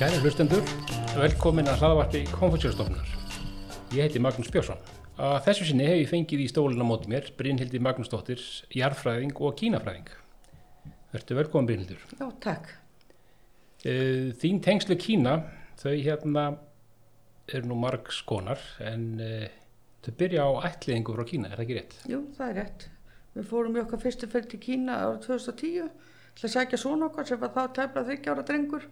Kæri hlustendur, velkomin að hlaðavarpi Konfúsjálstofnunar. Ég heiti Magnús Björnsson. Að þessu sinni hef ég fengið í stólinu á móti mér Brynhildi Magnúsdóttir, jarðfræðing og kínafræðing. Vertu velkomin Brynhildur. Já, takk. Eh, Þín tengslu Kína, þau hérna eru nú marg skonar en eh, þau byrja á ætliðingu frá Kína, er það ekki rétt? Jú, það er rétt. Við fórum í okkar fyrstu ferð til Kína ára 2010 til að sækja svona okkar sem var þá tæpla þryggja ára drengur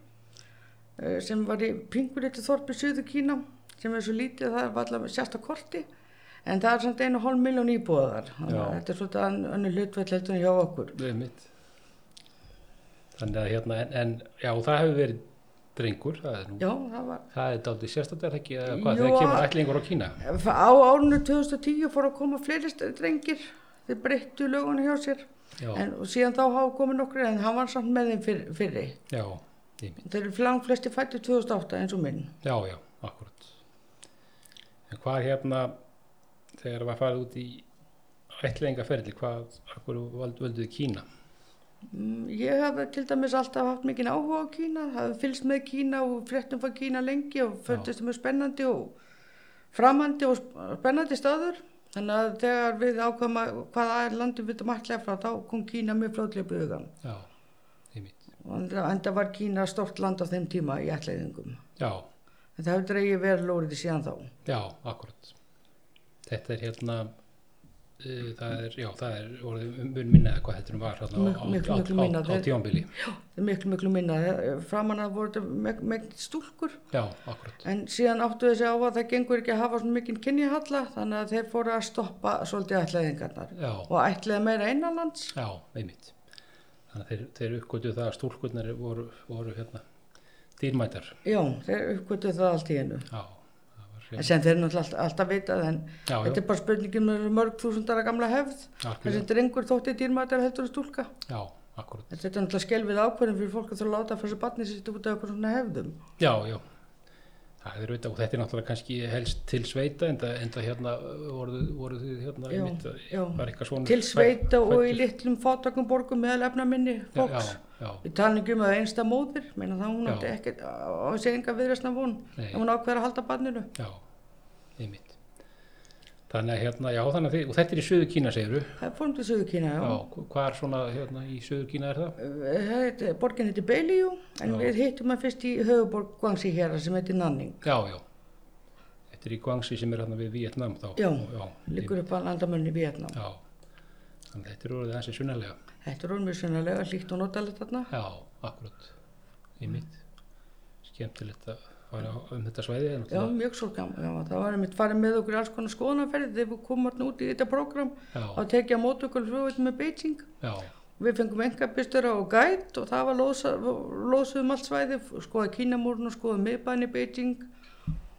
eh, sem var í pingurlíti þorpi Suðu Kína sem er svo lítið að það var allavega sérsta korti en það er samt einu hálf miljón íbúðar. Þannig að Já. Þetta er svona ann- önnur hlutveld heldur en hjá okkur. Við mitt. Þannig að hérna, en, en já, það hefur verið drengur, það er nú Já, það var Það er daldið sérstaklega ekki eða hvað Jú, þegar kemur að- ætlingur á Kína. Á árunni 2010 fór að koma fleiri st- drengir, þeir breyttu lögunni hjá sér Já, en, og síðan þá hafa komið nokkri en hann var samt með þeim fyrr, fyrri. já, einmitt. Þeir eru langflesti fættu 2008 eins og minn. já, já, akkurat. En hvað hérna, þegar það var farið út í ætlingaferðli, hvað, akkur völduðu Kína? Mm, Ég hef til dæmis alltaf haft mikinn áhuga á Kína, hafði fylgst með Kína og fréttum frá Kína lengi og földist með spennandi og framandi og sp- spennandi staður. Þannig að þegar við ákvæðum að hvaða er landið við þetta ætlaði frá þá kom Kína mjög fljóðlega upp í hugan. Já, einmitt. Og enda var Kína stort land á þeim tíma í ætlaðingum. Já, Þetta hefur dreigið verið lórið síðan þá. já, akkurat. Þetta er hérna, uh, það er, já, það er orðið mun minna eða hvað þetta nú var hérna, á, Miklu, miklu, á, miklu á, á, minna, á þeir- tímanbili. Það er miklu, miklu minna. Framan að voru þetta meg- megn stúlkur Já, akkurat. En síðan áttu þessi á að það gengur ekki að hafa svona mikinn kynjahalla þannig að þeir fóru að stoppa svolítið ætlaðingarnar Já, og ætlaði meira innanlands. Já, einmitt. Þannig að þeir, þeir uppgötu það að stúlkurnar voru, voru hérna dýrmætar. Já, þeir uppgötu það allt í hennu. Já, það var En hérna. sem þeir náttúrulega allt- alltaf vitað en Já, já, þetta er bara spurningin með mörg þúsundara gamla hefð. Þessi algjörlega. drengur þótti dýrmættar heldur að stúlka. Já, akkurat. Þetta er náttúrulega skelfið ákvörðin fyrir fólk að þurfa að láta fyrir þessu barni sitt út af eitthvað svona hefðum. Já, já. Það er auðvitað og þetta er náttúrulega kannski helst til sveita en það, en það hérna voru, voru þið hérna Já, einmitt. að- já. Var eitthvað svona. Til sveita og í litlum fátakum borgum meðal efnaminni fólks. Já, já, Við talum ekki um að einsta móðir, meina það hún Já. átti ekkert á seginga viðræstna von, Nei. ef hún ákveður að halda barninu. já, einmitt. Þannig að hérna, já, þannig að þið, og þetta er í Suðu Kína, segiru. Það fórum til Suðu Kína, já. hvað er svona hérna í Suðu Kína er það? Eh, það heit- Borgin heitir Beilíu, en Já. við hittum hann fyrst í höfuborg Guangxi hér sem heitir Nanning. Já, já. Þetta er í Guangxi sem er hérna við Vietnam þá. Já, já Liggur upp að landamönni í Vietnam. Já, þannig að þetta er orðið aðeins í sunnalega. Þetta er orðmjössunarlega líkt og notalegt þarna. Já, akkurat. Í mitt. Skemmtilegt að fara á- um þetta svæði. en Já, náttúrulega- mjög svo gaman. Já, það var einmitt farið með okkur í alls konar skoðanferði þegar við komum hann út í þetta prógram já, og tekja mót okkur flugvöld með Beijing. já, Við fengum engabistöra og gæt og það var losa, losuðum allt svæði, skoða Kínamúrun og skoða miðbæni Beijing.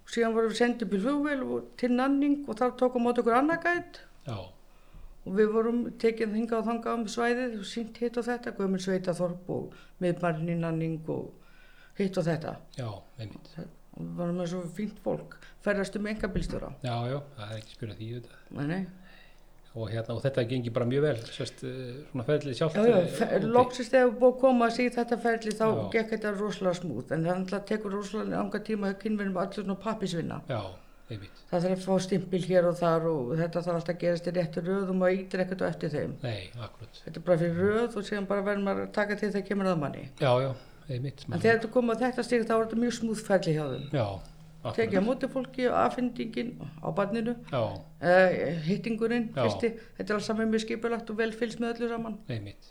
Síðan vorum við sendið upp í flugvél og til nanning og þar tókum við átt okkur annað gæt já, og við vorum tekið hingað og þangað um svæðið og sínt hitt og þetta, Guðmund Sveitaþorp og miðbæni nanning og hitt og þetta. já, einmitt. Og við vorum með svo fínt fólk, ferðast um engabistöra. Já, já, það er ekki spyrjað því þetta. Nei, Og hérna, og þetta gengi bara mjög vel, sérst, eh, svona ferðlið sjálft. já, já, eh, fe- úti. loksist þegar við búið að koma að sig í þetta ferli þá Já. gekk þetta rosalega smúð en það náttúrulega tekur rosalega langa tíma að kynverjum allir svona pappisvinna. Já, einmitt. Það þarf að fá stimpil hér og þar og þetta þarf alltaf að gerast í réttu röðum og ítir ekkert á eftir þeim. Nei, akkurat. Þetta er bara fyrir röð og síðan bara verður maður að taka til þegar kemur að manni. Já, já, einmitt. En þegar þetta kom að þetta stig þá var þetta mjög smúð ferli hjá þeim. Já, akkurat. Tekja á móti fólki og afhendingin á barninu, Já, uh, hittingurinn, Já. fyrsti, þetta er alls saman mjög skipulagt og vel fylgst með öllu saman. einmitt.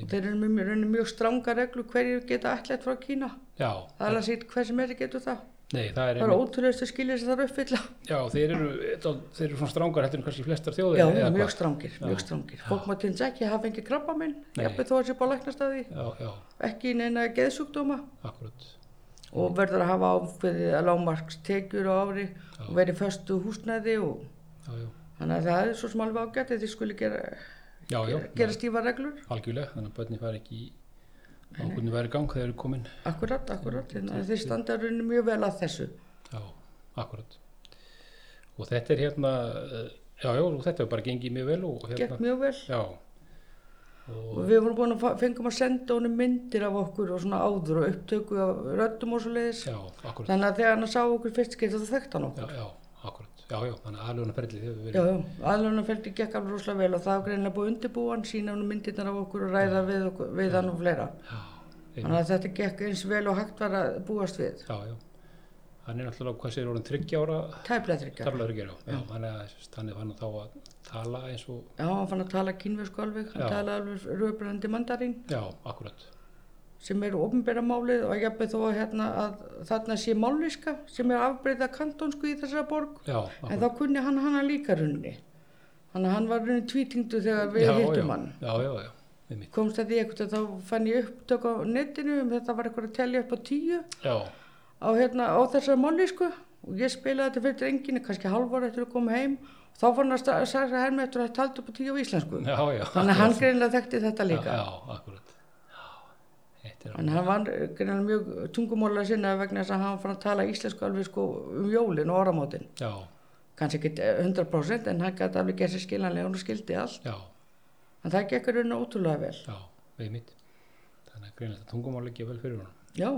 Og þeir eru með mjög, raunar mjög stranga reglu hverju geta ætlætt frá Kína. Já, Það er alveg sýtt hver sem er getur það. nei, það er Það eru ótrúleistu skilir sem það eru uppfylla. Já, þeir eru, eh, þeir eru svona strángar heldur en kannski flestar þjóðir Já, eða mjög hvað? strangir, mjög Já. strangir. Fólk maður til þess ekki að hafa engi krabba minn, Nei. jafnveg þó að sé bara læknastæði, Já, já, ekki í neina geðsjúkdóma akkurat og verður að hafa áfyrir að lágmarks tekjur á ári og verið föstu húsnæði og Já, já, þannig að það er svo sem alveg ágætt að þið skuli gera, já, já gera stífa reglur. na- algjörlega, þannig að börnin fari ekki í ákvörðinu væri gang þegar þeir eru komin Akkurat, akkurat, þannig að Hérna, þeir standa rauninni mjög vel að þessu. Já, akkurat Og þetta er hérna eh, Já, já, og þetta er bara gengið mjög vel og hérna Gekk mjög vel. Já, og og við vorum búin að fa- fengum að senda honum myndir af okkur og svona áður og upptöku af röddum og svo leiðis já, akkurat þannig að þegar hann sá okkur fyrst skilt þá þekkti hann já, okkur já, akkurat, já, já, þannig að aðlöfunarferlið hefur já, verið já, aðlunarferdi gekk alveg rosalega vel og það var greinilega búið að undirbúa hann sína honum myndirnar af okkur og ræða við, okkur, við hann og fleira já, einmitt. þannig að þetta gekk eins vel og hægt var að búast við já, já hann er náttúrulega, hvað segir orðin, 30 ára tæplega þryggja tarflaður ekki, já, já, hann er þannig fann þá að tala eins og já, hann fann að tala kínversku alveg hann Já. talaði alveg röðbrandi mandarín já, akkurat, sem eru ofnbæra málið og jafnveg þó að, hérna, að þarna sé mállíska sem er afbreyða kantónsku í þessara borg já, en akkurat þá kunni hann hana líka runni þannig að hann var runni tvítingdu þegar við já, hittum já, hann já, já, já, einmitt komst að því eitthvað að þá fann ég upptök á netinu um þetta var eitthvað að telja upp á tíu já, á, hérna, á þessari mállísku og ég spilaði þetta fyrir drenginu kannski hálfvara eftir að koma heim þá fann hann að sta- sagði henni eftir að talda upp á tíu á íslensku já, já þannig að hann greinilega þekkti þetta líka já, já, akkurat já, þetta er En hann var greinlega mjög tungumóla sinna vegna þess að hann fann að tala íslensku alveg sko um jólin og áramótin. já, Kanski ekki 100% en hann gæti alveg gerð sér skiljanlega og skildi allt. já, En það gekk raun og ótrúlega vel. já, einmitt þannig að greinlega þetta tungumál ekki vel fyrir honum Já,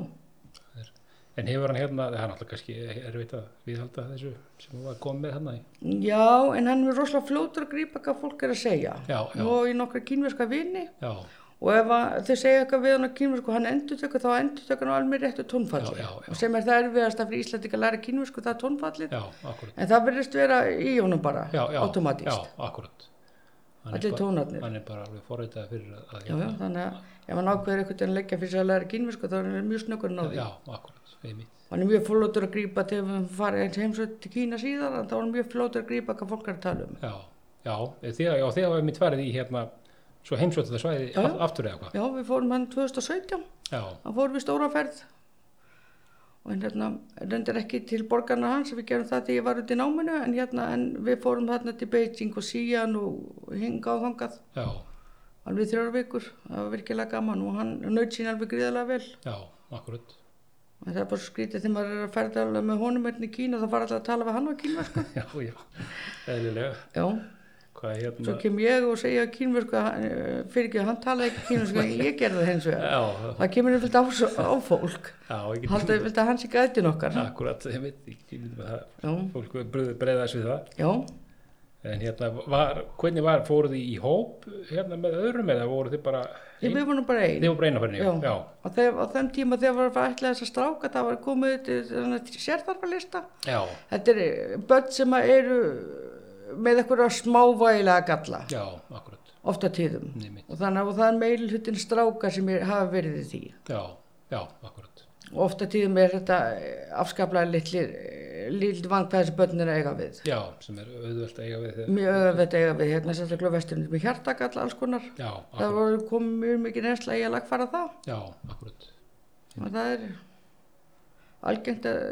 En hefur hann hérna, það er náttúrulega kannski erfitt að viðhalda þessu sem hún var komið með hérna í. já en hann er rosalega fljótur að grípa hvað fólk er að segja. Já, já. Nú á ég nokkra kínverska vini Já, og ef að, þau segja eitthvað við hann á kínversku hann endur tökur þá endur tökur hann á alveg réttu tónfalli. Já, já, já. Og sem er það erfiðast að fyrir Íslandika að læra kínversku það er tónfallið. já, akkurat. En það verðist vera í honum bara, Já, já, automatískt. Já, akkurat. Hann Allir er bara- tónarnir. Hann er bara alveg forreitað fyrir að... að Já, já, þannig að ef hann ákveður einhvern veginn að leggja fyrir sig að læra kínversku þá er hann mjög snöggur að ná því. Já, akkurat, einmitt. Hann er mjög flótur að grípa til að fara eins heimsöld til Kína síðar en þá er hann mjög flótur að grípa hvað fólk er að tala um. Já, já, þegar, já, þegar var mitt farið í hérna, svo heimsótt þetta svæði Já, já. aft- aftur eða hvað. Já, við fórum hann 2017, Já, hann fórum við stóraferð og hann hérna reyndar ekki til borgarna hans, við gerum það þegar ég var út í náminu en hérna en við fórum þarna til Beijing og Xi'an og hinga og þangað já, alveg þrjóra vikur, það var virkilega gaman og hann naut sín alveg gríðarlega vel. já, akkurat. En Það er bara svo skrítið þegar maður er að ferða alveg með honum hérna í Kína þá fara alltaf að tala við hann á kínversku. Já, já, eðlilega. Já, Hvað er hérna? svo kem ég og segja á kínversku að hann, eh, fyrir ekki, hann talaði ekki kínversku en ég gerði það hins vegar. Já, Það kemur einhvern veginn á, á fólk. já, ég get Haldið einhvern veginn að hann sé gætin okkar. Akkurat, ég veit, ég get með það. Já, Fólk breyðast við það. já. En hérna, var, hvernig var, fóruð þið í hóp hérna með öðrum eða voruð þið bara Ég við vorum bara Þið einn. voru bara einafærni, já. Já. já. Á, þeim, á þeim tíma þegar var að ætla þess að stráka það var komið til þennan sérþarfarlista. Já, Þetta er eh, börn sem að eru með eitthvað smávægilega galla, já, akkurat. ofta tíðum. Nýmið. og þannig að og það er meilhutin stráka sem er, hafa verið í því Já, já, akkurat. og ofta tíðum er þetta eh, afskaplega litlir eh, lill vang hvað þessi börn er að eiga við Já, sem er auðvöld að eiga við þið. mjög öðvöld eiga við hérna sérstaklega vesturinn með hjartakall alls konar Já, það akkurat. voru komið mjög mikið reynsla í að lagfara það Já, akkurat. og það er algengt að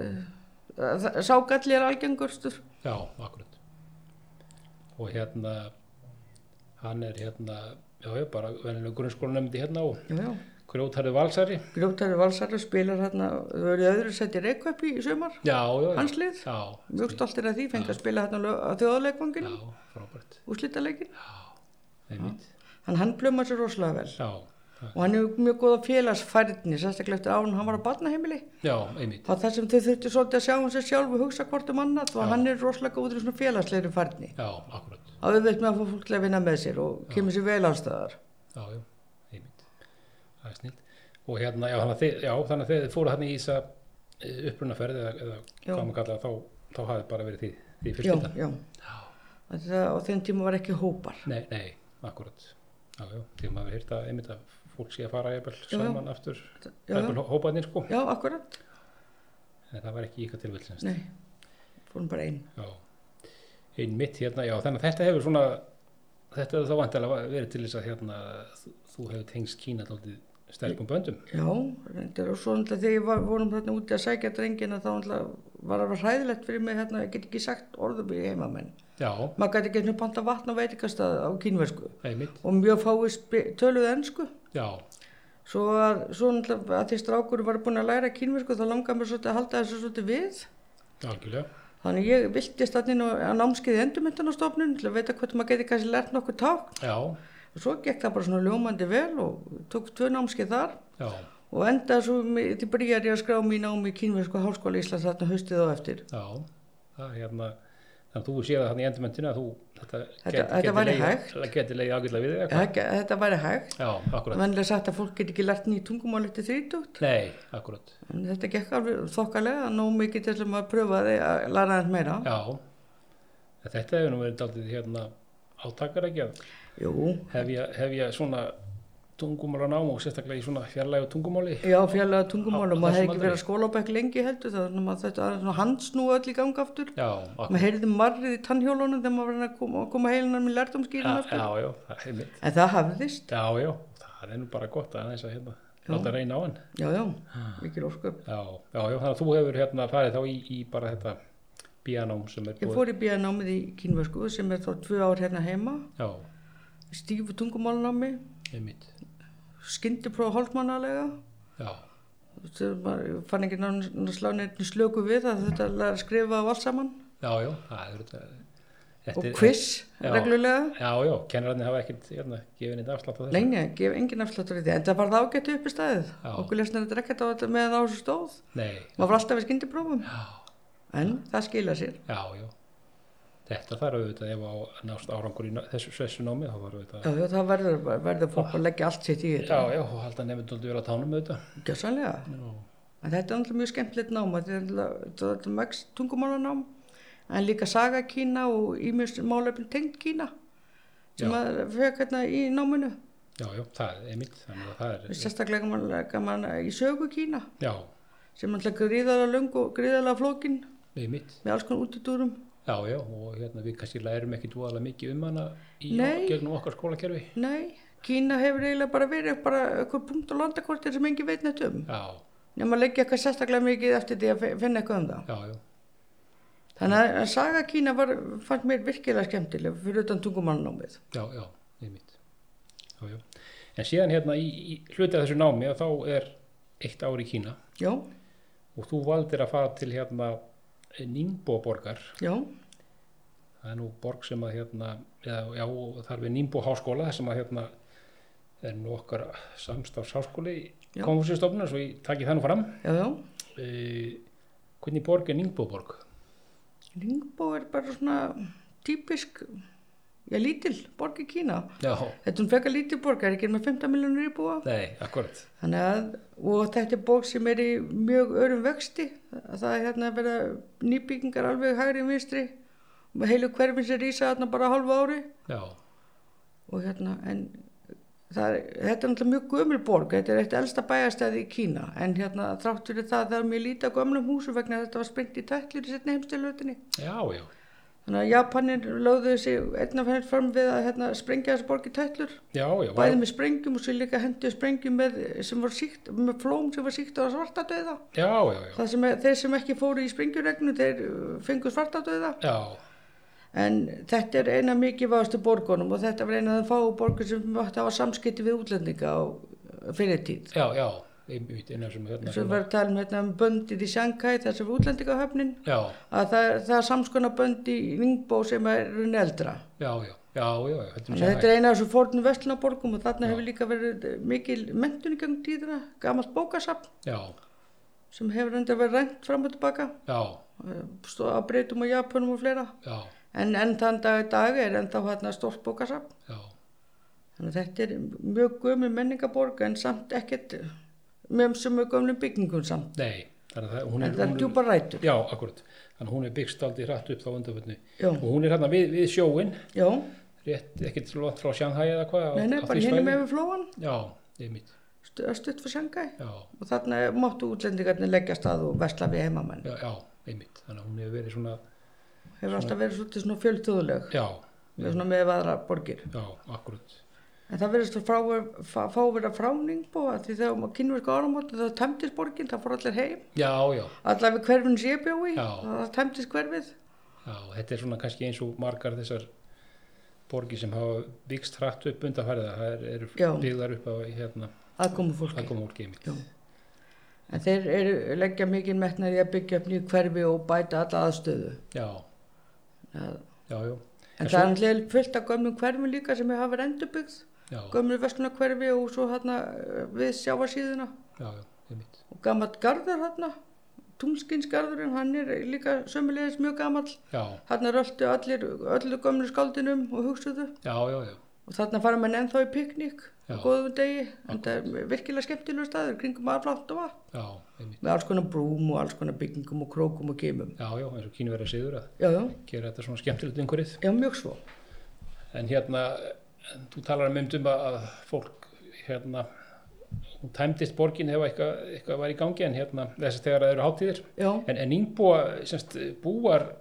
að það- sá galli er algengurstur Já, akkurat. Og hérna, hann er hérna, já, já, bara venjulega grunnskólanemndi hérna og já, já. grjótarði valsari. grjótari valsari spilar hérna þau eru í öðru seti reykvöpi í sumar Já, já, já. hans lið, Já, mjög stoltir af því fengi að spila hérna á laug- á þjóðuleikvanginu já, frábært. úrslitaleikin Einmitt. Þannig hann plömmar sér rosalega vel Já, og hann hefur mjög góða félagsfærni, sérstaklega eftir án hann var á barnaheimili. já, einmitt. Það er það sem þau þurftu svolítið að sjá um sér sjálf og hugsa hvort um annað og hann er rosalega góður í svona félagslegri færni. Já, akkurat. Það auðvitað með að fá fólk til að vinna með sér og kemur sér vel allstaðar. Já, já, einmitt. Það er snilt. Og hérna, já, þannig að þið, já, þannig að þegar þið fóruð hérna í þessa eh, upprunaferð eða, eða Já. hvað maður kalla það, þá, þá hafið bara verið því, því fyrst Já, þetta. já. Það, það- á þeim tíma var ekki hópar. Nei, nei, akkurat. Já, já, því maður hefur hýrt að einmitt að fólk sé að fara jafnvel Já, já. saman aftur, Já, já, jafnvel hópaðnir sko. já akkurat. En það var ekki ykkar tilvill sem Nei, fórum bara einn. Já, einmitt hérna, já, þannig að þetta hefur svona, þetta hefur þá vantilega verið til þess að hérna, þú, þú hefur tengst Kína alltaf sterkum böndum. Já, reyndar og svo náttúrulega þegar ég var, vorum þarna úti að sækja drengina þá náttúrulega var það hræðilegt fyrir mig hérna, ég get ekki sagt orðum í heimamenn. Já, maður gæti ekki einhvern panta vatn á veitikastað á kínversku einmitt, og mjög fáið spe- töluð ennsku já, svo að, svo náttúrulega að því strákur var búin að læra kínversku þá langaði mér svolítið að halda þessu svolítið við algjörlega. þannig ég viltist að inn á námskeiði endurmyndunarstofnun til að veita hvort maður geti kannski lært nokkuð ták Já, Svo gekk það bara svona ljómandi vel og tók tvö námskeið þar já, og endaði svo með- til byrjar ég að skrá mín námi í kynversku háskóla Íslands þarna haustið á eftir. já, það er hérna, þannig að þú séð það þannig í endurmyndinu að þú, þetta, Þetta- þetta væri hægt. Það geti leiðið ágætlega við þig eitthvað. Ekki, þetta væri hægt. Já, akkurat. Venlega sagt að fólk get ekki lært nýjum tungumál eftir þrítugt. Nei, akkurat. En þetta gekk alveg þokkalega, nóg mikið til að maður pröfaði að læra aðeins meira. Já, En þetta hefur nú verið daldið hérna átakar ekki að Jú, hefja, hefja svona tungumála nám og sérstaklega í svona fjarlægu tungumáli. já, fjarlæga tungumál Á- á og maður hefði þessum ekki aldri? verið að skóla á bekk lengi heldur, þannig að maður þetta aðeins svona handsnú öll í gang aftur. Já, akkurat. Maður heyrði marrið í tannhjólunum þegar maður var að reyna að koma, koma heilinum í Já, lærdomskýrin aftur. já, já, það er mitt. En það hafðist. Já, já, það er nú bara gott að þess að hérna láta reyna á hann. Já, já, mikil ósköp. Já, já, já, þannig að þú hefur hérna farið þá í, í bara þetta bíanám sem er Ég fór í bíðanámið í kynversku sem er þá tvö ár hérna heima, Já, stífu tungumálnámi, einmitt. skyndipróf hálfmannalega. Já, Ég fann ekki náttúrulega slá neitt slöku við að þetta er að skrifa á allt saman já, já, það er þetta. þetta og er- quiz Já. reglulega. Já, já, kennararnir hafa ekkert hérna, gefið neitt afslátt á þessu. Lengi, ég gef engin afsláttur í því, en það var það ágættu upp í staðið. Já. Okkur lesnir þetta ekkert á þetta meðan á þessu stóð. Nei, Maður var alltaf við skyndiprófum, já. en það skila sér. Já, já. Þetta þarf auðvitað ef á að nást árangur í ná- þessu svessu námi, þá þarf auðvitað. Já, já, það verður, verður fólk að leggja allt sitt í þetta. Já, já, og halda nefndöldu vera á tánum auðvitað. Gjössanlega. Já, En þetta er náttúrulega mjög skemmtilegt nám, þetta er náttúrulega- þetta er mægst tungumálanám, en líka saga Kína og ímjöst málefn tengt Kína, sem Já. maður fekk hérna í náminu, já, já það er einmitt, þannig að það er, sérstaklega gaman, gaman í sögu Kína, já, sem er náttúrulega gríðarlega löng og gríðarlega flókin einmitt. með alls konar útidúrum. Já, já, og hérna við kannski lærum ekki dúalega mikið um hana í Nei. gegnum okkar skólakerfi. Nei, Kína hefur eiginlega bara verið bara einhver punkt á landakortir sem engin veit neitt um, Já, nema að leggja eitthvað sérstaklega mikið eftir því að fi- finna eitthvað um það. já, já, Þannig að- að saga Kína var, fannst mér virkilega skemmtileg fyrir utan tungumálanámið. já, já, einmitt. Já, já. En síðan hérna í, í hluti af þessu námi að þá er eitt ár í Kína Já, og þú valdir að fara til hérna Ningbo borgar já. það er nú borg sem að hérna, já, já þar við Nýmbú háskóla þar sem að hérna er nú okkar samstafsháskóli Já. konfúsistofnun, svo ég taki það nú fram Já, já. e, hvernig borg er Nýmbú borg? Ningbo er bara svona típisk, já, lítil borg í Kína. Já, Þetta er um fekar lítil borg, er ekki með 15 miljónur íbúa. nei, akkurat Þannig að, og þetta er borg sem er í mjög örum vexti. Það er hérna að vera nýbyggingar alveg hægri vinstri. Heilu hverfin sem rísa þarna bara á hálfu ári. já, Og hérna, en það er, þetta er náttúrulega mjög gömul borg. Þetta er eitt elsta bæjarstæði í Kína. En hérna, þrátt fyrir það, það er mjög lítið af gömlum húsum vegna þetta var sprengt í tætlur í setni heimstilöðinni. já, já Þannig að Japanir lögðu sig einna fyrir fram við að hérna, sprengja þessu borg í tætlur, já, já, var, bæði með sprengjum og svo líka hendu sprengjum með, sem var síkt, með flóm sem var síkt á svartadauða. já, já, já Það sem er, þeir sem ekki fóru í sprengjuregnu, þeir uh, fengu svartadauða. já, En þetta er eina mikið váðustu borgunum og þetta var eina af þeim fáu borgur sem átti að hafa samskipti við útlendinga á fyrir tíð. já, já einmitt innan sem hérna Svo var að tala um, hérna, um böndið í Sjanghæ, þar sem var útlendingahöfnin, já, að það, það er samskona bönd í Ningbo sem er runni eldra. já, já, já, já, já þetta er Þannig að mjög þetta er eina af þessu fórnum vestlunaborgum og þarna hefur líka verið eh, mikil mentun í gangum tíðina, gamalt bókasafn já, sem hefur enda verið rænt fram og tilbaka, já, eh, stóð á breytum og japunum og fleira. já, En enn þann dag í dag er ennþá þarna stórt bókasafn. já Þannig að þetta er mjög gömur menningaborg en samt ekkert eh, með sem mjög gömlum byggingum samt. nei, þannig að það- hún En það er djúpa rætur. Já, akkurat. Þannig að hún er byggst aldrei hratt upp þá undanfjörni. Já. Og hún er hérna við, við sjóin, Já, rétt ekkert svo langt frá Shanghai eða hvað. á- nei, nei, á bara því hinum svæði. yfir flóan, Já, einmitt. stu- stutt fyrir Sjangai. Já, Og þarna máttu útlendingarnir leggja af stað og vesla við heimamenn. já, já, einmitt. Þannig að hún hefur verið svona, Hefur alltaf verið svolítið svona fjölþjóðuleg, já, svona með aðra borgir. já, akkurat. En það verðist að frá, fá, fá vera fráningbú að því þegar maður kynverku áramóti það tæmtist borgin, það fór allir heim. Já, já, Allar við hverfin sem ég bjó í, Já. það tæmtist hverfið. já, þetta er svona kannski eins og margar þessar borgir sem hafa byggst hratt upp undanfærið. Það er, eru Já. byggðar upp á hérna, Aðkomu fólki. það koma úr geimitt. Já. En þeir eru, leggja mikið metnaði að byggja upp nýju hverfi og bæta alla aðstöðu. Já, En, já, já. en það er allir fullt af gömlum hverfum líka sem hafa verið endurbyggð. já, gömlu vestlunarkverfi og svo hérna við sjávarsíðina já, já, einmitt. og gammalt garður hérna tungskinsgarðurinn, hann er líka sömulegis mjög gamall Já, Þarna röltu allir, öllu gömlu skáldinum og hugsuðu já, já, já, og þarna fara menn ennþá í piknik Já. á góðum degi, en það er virkilega skemmtilegur staður kringum aðflátt og vatn já, einmitt. með alls konar brúm og alls konar byggingum og krókum og geimum. Já, já, eins og kínu verið siður að Já, já, gera þetta svona skemmtilegt umhverfið. já, mjög svo. En hérna, en þú talar um um að að fólk, hérna, hún tæmdist borgin ef eitthvað, eitthvað var í gangi en hérna, þess að þegar það eru hátíðir. Já, En, en yngbúa, semst, búar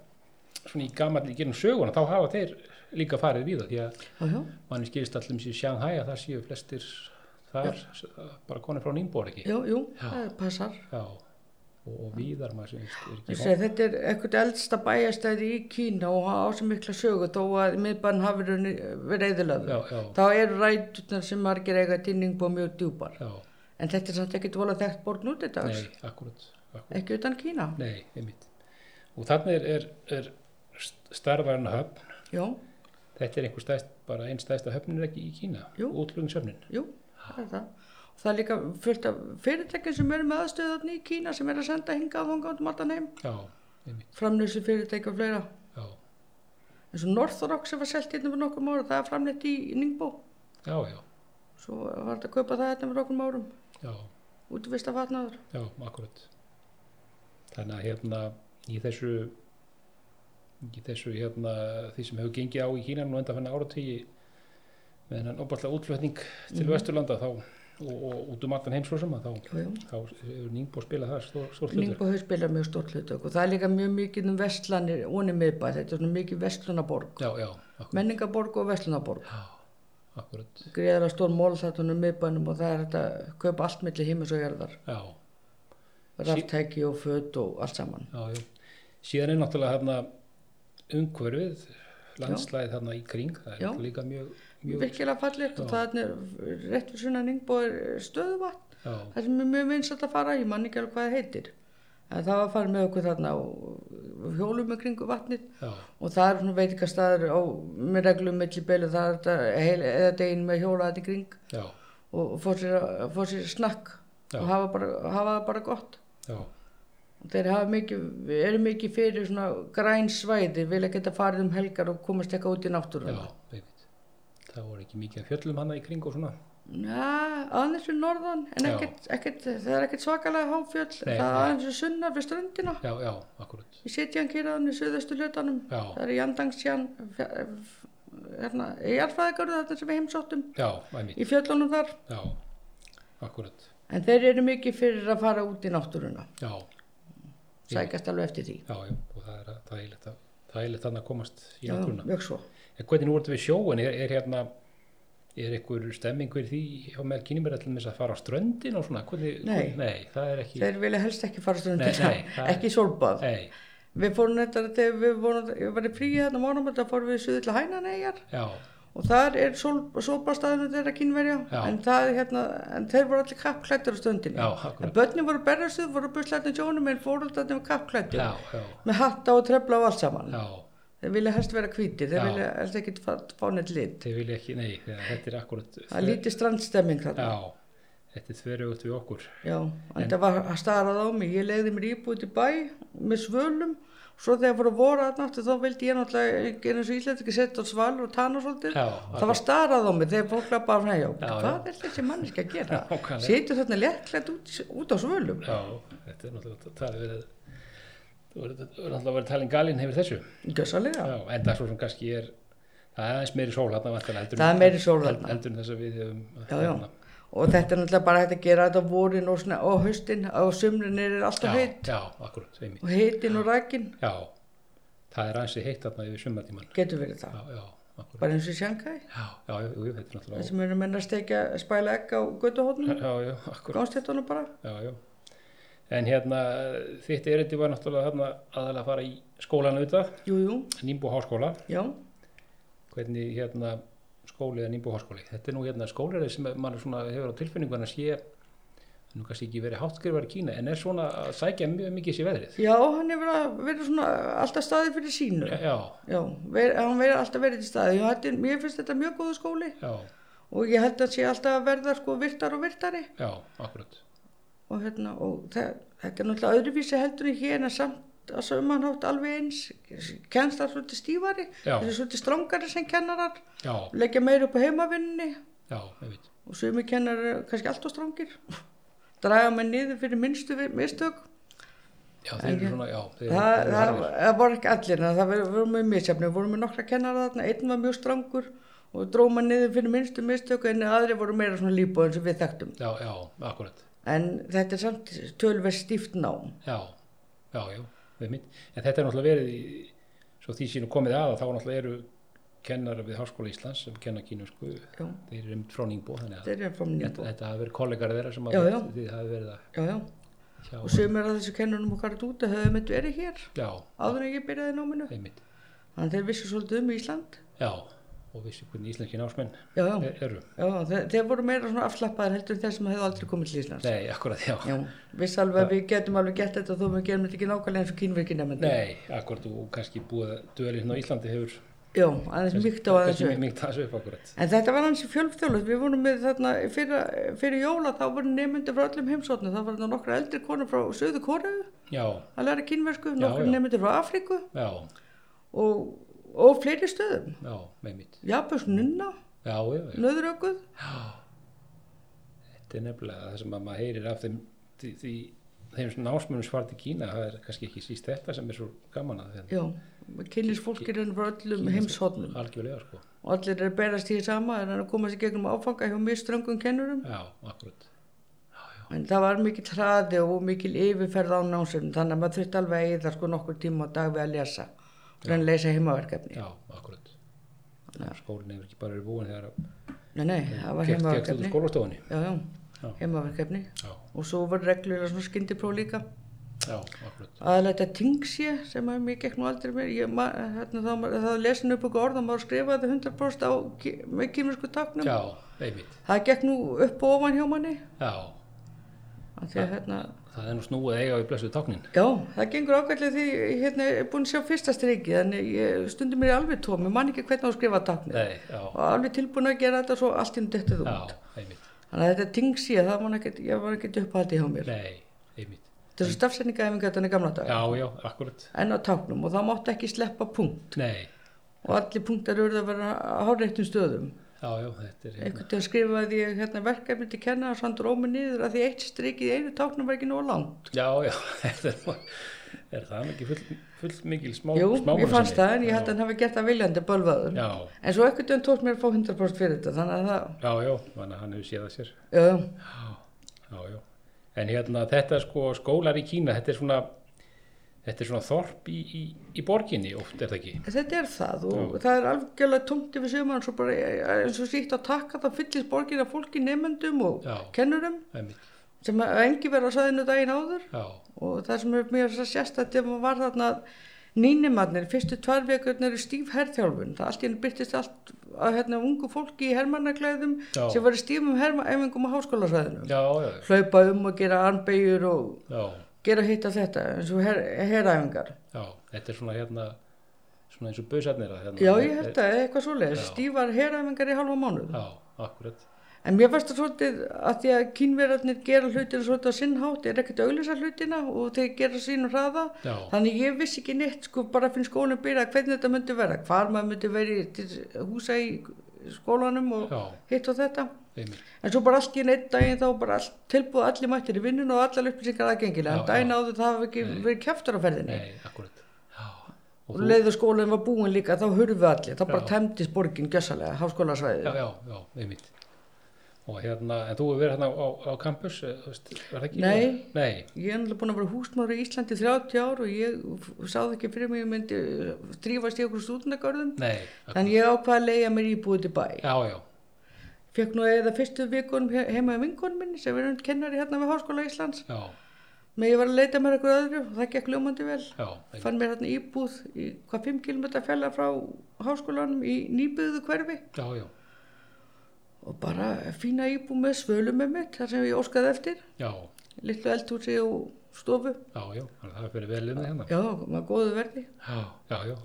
svona í gamall í gerum söguna, þá hafa þeir líka farið víða því að já, já, manni skilist allum sér Shanghai að það séu flestir þar, bara konir frá nýmbúar ekki. já, jú, það passar. Já, og, og víðar maður sem er ekki Þessi, þetta er eitthvað eldsta bæjastæði í Kína og á sem mikla sögu þó að miðbann hafi verið verið eðilöðu. Já, já. Þá eru ræturnar sem margir eiga tinning búið mjög djúpar. Já, En þetta er samt ekkert vola þekkt borð nú til dags, nei, akkurat, akkurat, ekki utan Kína. nei, einmitt. Og þannig er, er, er starfarn höfn, Já, þetta er einhver stæst, bara einn stæsta höfnin er ekki í Kína, Jú. útlöðningshöfnin. jú, það er það. Og það er líka fullt af fyrirtækjum sem eru með aðstöðarni í Kína sem eru að senda hingað og hongað um allan heim. Já, einmitt, Framlýslu fyrirtækja og fleira. já, eins og Northrock sem var selt hérna fyrir nokkrum árum, það er framleitt í Ningbó. já, já, Svo var þetta að kaupa það hérna fyrir nokkrum árum, já, útvist af fatnaður. já, akkurat. Þannig að hérna í þessu, í þessu hérna því sem hefur gengið á í Kína nú enda fannig áratígi með hennan opallega útflutning til Vesturlanda þá og, og út um allan heim svo sem að þá, Jú, jú. þá hefur Ningbó spilað það stór, stór hlutur. Ningbó hefur spilað mjög stórt hlutök og það er líka mjög mikið um vestlanir, onum miðbæ, þetta er svona mikið vestlunaborg, Já, já, akkurat, menningaborg og vestlunaborg. akkurat, Greiðar stór mól þetta um miðbænum og það er þetta að kaupa allt milli himins og jörðar, já, ráttæki og föt og allt saman. já, já. Síðan er náttúrulega hérna umhverfið, landslæðið þarna í kring, það er Já. líka mjög, mjög, Virkilega fallegt og það er rétt fyrir svona Ningbó er stöðuvatn. já, Það sem er mjög vinsalt að fara, ég man ekki alveg hvað það heitir. En það var að fara með okkur þarna og hjólum með kringu vatnið já, og það er svona veitingastæður á, með reglum milli beilu, það er þetta heil, eða deginn með hjóla þetta í kring já, og, og fór sér, að- fá sér snakk Já. og hafa, bara, hafa það bara gott. já, Og Þeir hafa mikið, eru mikið fyrir svona græn svæði, vilja geta farið um helgar og komast eitthvað út í já, náttúruna. einmitt. Það voru ekki mikið af fjöllum hana í kring og svona, Já, aðeins fyrir norðan, en Já. ekkert, ekkert, það er ekkert svakalega háfjöll, Nei, það er nei. aðeins fyrir sunnar fyrir ströndina. já, já, akkurat, Ég setja hann kýraðan í söðustu hlutanum. Já. Það er Jandangsjan, hérna, jarðfræðigarðu þarna sem við heimsóttum já, einmitt, í fjöllunum þar. já, akkurat, En þeir eru mikið fyrir að fara út í náttúruna. já, Sækast alveg eftir því. já, já, og það er að, það er leitt að, það er leitt að komast í náttúruna. Já, mjög svo. En hvernig nú voru þetta við sjóin, er, er hérna, er einhver stemming fyrir því hjá með kynumir allir að fara á ströndin og svona, hvernig, Nei. nei, það er ekki, Þeir vilja helst ekki fara stundum Nei, nei, það er- ekki í sólbað. nei, Við fórum þetta, þegar við vorum, ég var í fríi þarna mánum, þetta fórum við suður til Hænaneyjar já, og þar er sólbaðstæðinu þeirra kynverja, Já. en, það, er hérna, en þeir voru allir kappklættur á stundinu. já, En akkurat, börnin voru berðarstuð, voru buslættin sjónum, en fóröldarnir voru kappklættur. já, já, með hatta og trefla og allt saman já, þeir vilja helst vera hvítir, þeir Já. vilja helst ekki fá, fá neitt lit þeir vilja ekki, nei, þegar þetta er akkurat, það er lítið strandstemming þarna já, þetta er þverjugt við okkur, já, en þetta var að starað á mig ég leiði mér íbúið til bæ með svölum svo þegar voru að voru aðnáttu þá vildi ég náttúrulega gera eins og íslætt ekki setja á sval og tana svolítið Já, það var starað á mig þegar fólk lappa af hræjá Já, hvað er þessi manneski að gera Nákvæmlega. setur þarna léttlætt út, í- út á svölum já, þetta er náttúrulega, það er verið, það voru náttúrulega verið talin galinn hefur þessu, gössalega já, en það svo sem kannski er, það er aðeins meiri sól hérna, vantilega, heldur, en- Það er meiri sól þarna. heldur en þess að við höfum, hérna. já, já. og þetta er náttúrulega bara hægt að gera þetta á vorin og, svona, og haustin og sumrin er alltaf já, heitt já, akkurat, einmitt. og heitin og rækin Já, það er ansi heitt þarna yfir sumartíman. getur verið það, Já, já, akkurat. bara eins og í Sjanghæ Já, já, já, jú, jú, þetta er það náttúrulega... sem eru menn að steikja spæla egg á göttuhóttnum, Já, já, akkurat, gánstættunum bara já, já. En hérna, þitt erindi var náttúrulega þarna aðalega að fara í skólan auðvitað, jú, jú, Nýmbú háskóla. já, Hvernig hérna skóli eða Nýmbú háskóli? Þetta er nú hérna skólarið sem mann svona hefur á tilfinningu en að sé, nú kannski ekki verið hátskrifaður í Kína, en er svona að sækja mjög mikið sér veðrið. já, hann hefur að- verið svona alltaf staðið fyrir sínu Já, já, ver, hann verið alltaf verið til staði já, þetta, er- mér finnst þetta mjög góðu skóli já, og ég held að sé alltaf að verða sko virtar og virtari já, akkurat. og hérna og það, þetta er náttúrulega öðruvísi heldur en hér en samt að sömanhátt alveg eins kennst það svolítið stífari Já. þessi svolítið strangari sem kennarar Já, leggja meira upp á heimavinnunni já, ég veit. og sömu kennarar eru kannski alltaf strangir draga menn niður fyrir minnstu vi- mistök Já, þeir eru svona, já. Þeir eru það, svona það, harðir. það voru ekki allir en það voru- voru mjög misjafni, voru með nokkra kennara þarna einn var mjög strangur og dró mann niður fyrir minnstu mistök en aðri voru meira svona líbúðin sem við þekktum Já, já, akkurat. En en þetta er samt tölverð stíft nám Já, já, já, við minn. En þetta er náttúrulega verið, í- svo því sínu komið að þá náttúrulega eru kennar við Háskóla Íslands sem kenna kínusku, já, þeir eru einmitt frá Ningbo, þannig að þetta er frá þetta, nýjabó þetta hafi verið kollegar þeirra sem að Já, þið- já. þið hafi verið að já, já. hjá. og sömur af þessu kennunum okkar út að höfum þetta verið hér Já, áður en ég byrjaði í náminu einmitt. þannig þeir vissu svolítið um Ísland Já, og vissi hvernig íslenski námsmenn já, já, er- eru. já þeir, þeir voru meira svona afslappaðar heldur en þeir sem hefðu aldrei komið til Íslands Nei, akkurat, já. já, viss alveg að við getum alveg gett þetta þó við gerum þetta ekki nákvæmlega eins og kínverkinemandi Nei, akkurat, og kannski búið að dölir hérna á Íslandi hefur Já, aðeins mýkt á aðeins kannski upp. myggt aðeins upp akkurat. En þetta var hansi fjölfþjóðlust, við vorum með þarna, fyrir, fyrir jóla þá voru nefnendur frá öllum heimsóknum, þá voru þarna nokkra eldri konur frá söðu Kóru Já, að læra kínversku, Já, nokkra já. nefnendur frá Afríku já, og, og fleiri stöðum. já, einmitt. Japus nunna, Já, já, já. nöðrökuð, Þetta er nefnilega það sem að maður heyrir af þeim, því, því, þeim svona námsmönum svart í Kína, það er kannski ekki síst þetta sem er svo gaman að þeim. já, kynlis fólkir henni frá öllum heimsóknum Algjörlega, sko. og allir er að berast í því sama, er að koma sér gegnum áfanga hjá mjög ströngum kennurum. Já, akkurat. En það var mikil hraði og mikil yfirferð á námsum, þannig að maður þurfti alveg að eða sko nokkur tíma á dag við að lesa og reyna að leysa heimaverkefni. Já, akkurat. Já. Skólinn hefur ekki bara verið búin þegar að Nei, nei, það var hérna gert gegst út úr heimaverkefni. skólastofunni. Já, já, Já. heimaverkefni. Já, Og svo var reglulega svona skyndipróf líka. já, akkurat. Aðalega þetta tingsje sem að mér gekk nú aldrei mér. Ég, ma, hérna, þá, ma- þá lesin upp okkur orð og maður skrifaði þetta 100% á, ki- með kýminsku taknum. Já, einmitt. Það gekk nú upp og ofan hjá manni. Já, Af Því, að, hérna, það er nú snúið eiga í blessuð táknin. já, það gengur ágætlega því ég hérna, er búin að sjá fyrsta strikið. Þannig ég stundum mér í alveg tómi, mann ekki hvernig á að skrifa taknum. Nei, já, Og alveg tilbúin að gera þetta svo allt inn dættið já, út. einmitt. Þannig að þetta tingsje, það var ekkert, ég var ekkert upphaldi hjá mér. Nei, einmitt. Þetta er svo stafsendingaæfingar þannig gamla dag. Já, já, akkurat. en á táknum og það mátti ekki sleppa punkt Nei, og allir punktar eru að vera á hárreittum stöðum já, já, þetta er... einhvern veginn skrifaði ég hérna, verkefni til kenna og sann drómi niður að því eitt strikið í einu táknum var ekki nóg langt Já, já, þetta er, nú- er það ekki full, full mikil smá Jú, smámunasemi? ég fannst það en ég held já, að hann hafi gert það viljandi bölvaður Já, en svo einhvern veginn tókst mér að fá 100% fyrir þetta þannig að það, já, já, þannig að hann hefur séð það sér. já, Já, já. En hérna þetta sko skólar í Kína, þetta er svona, þetta er svona þorp í, í, í borginni oft, er það ekki? þetta er það og það er algjörlega tómt yfir suman svo bara eh, eins og sýtt á takka þá fyllist borgin af fólki nefnendum og Já. kennurum Einmitt. sem að engi vera á sæðinu daginn áður Já, og það sem er mjög sérstætt ef maður var þarna að nýnimannin, fyrstu tvær vekurnar er stíf herrþjálfun, það allt í henni byrtist allt að hérna ungu fólki í hermannaklæðum Já. sem var í stífum hermaæfingum á háskólasvæðinu, já, já, hlaupa um og gera armbeigur og já, gera hitt að þetta eins og her, heræfingar já, þetta er svona hérna, svona eins og busarnir að hérna. já ég held að eitthvað svoleiðis, Já. stífar heræfingar í halva mánuð Já, akkurat. En mér fannst það svolítið að því að kínverðarnir gera hlutina svolítið á sinnhátt, er ekkert að auglýsa hlutina og þeir gera sínum hraða. Já. Þannig ég vissi ekki neitt, sko, bara fyrir skólanum byrja hvernig þetta myndi vera, hvar maður myndi verið til húsa í skólanum og Já, hitt og þetta. einmitt. En svo bara allt í neitt daginn þá bara allt, tilbúið allir mættir í vinnun og allar upplýsingar Já, aðgengilega. En daginn já. áður það hafi ekki verið kæftar á ferðinni. Nei, akkurat. Já, og Og þú, leið og skólan var búin líka, þá hurfu allir, þá bara Já. tæmdist borgin gjössalega, háskólasvæðið. já, já, já, einmitt. Og hérna, en þú hefur verið hérna á, á, á campus, eh, þú veist, var það ekki? Nei. Nei, Ég er náttúrulega búin að vera húsmaður í Íslandi í 30 ár og ég f- sáði ekki fyrir mig að ég myndi uh, drífast í okkur stúdendagörðum. Nei, ak- Þannig ég ákvaði að leiða mér íbúið til bæ. já, já, Fekk nú eða fyrstu vikunum he- heima í vinkunum minni sem er um kennari hérna við Háskóla Íslands. já, Með ég var að leita mér eitthvað öðru og það gekk ljómandi vel. já, einmitt. Fann mér hérna íbúð í hvað 5 km fjalla frá háskólanum í nýbyggðu hverfi já, já, og bara fína íbúð með svölum með mitt þar sem ég óskaði eftir. já, Lillu eldhúsi og stofu. já, já, þannig að það fyrir vel um þig hérna. Já, maður góðu verði. Já, já, já,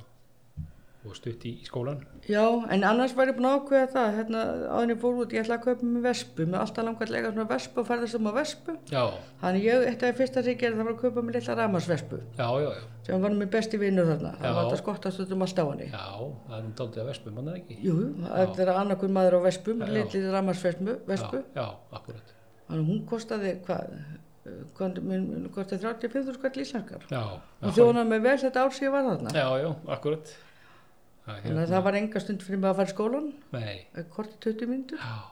og stutt í, í skólan. Já, en annars var ég búin að ákveða það, hérna áðin ég fór út, ég ætla að kaupa mér vespu, mér er alltaf langar að lega svona vespu og ferðast um á vespu. Já, Þannig ég, þetta er fyrsta sem ég gerði, það var að kaupa mér litla rafmarsvespu, já, já, já, sem var mér besti vinnur þarna, Já. það var alltaf skottast út um allt á henni. já, það er nú daldið að vespum, mann er ekki. Jú, jú, þetta er annarkur maður á vespu, Já. litli rafmarsvespu, vespu. Já, já, akkurat. Þannig hún kostaði, hvað, eh, hvað, hún kostaði 35.000 skall íslenskar. Já, Hún já, þjónaði mig vel þetta ár sem ég var þarna. já, hérna. já, akkurat. Það er Þannig að það var enga stund fyrir mig að fara í skólan, Nei, korti 20 myndur. já,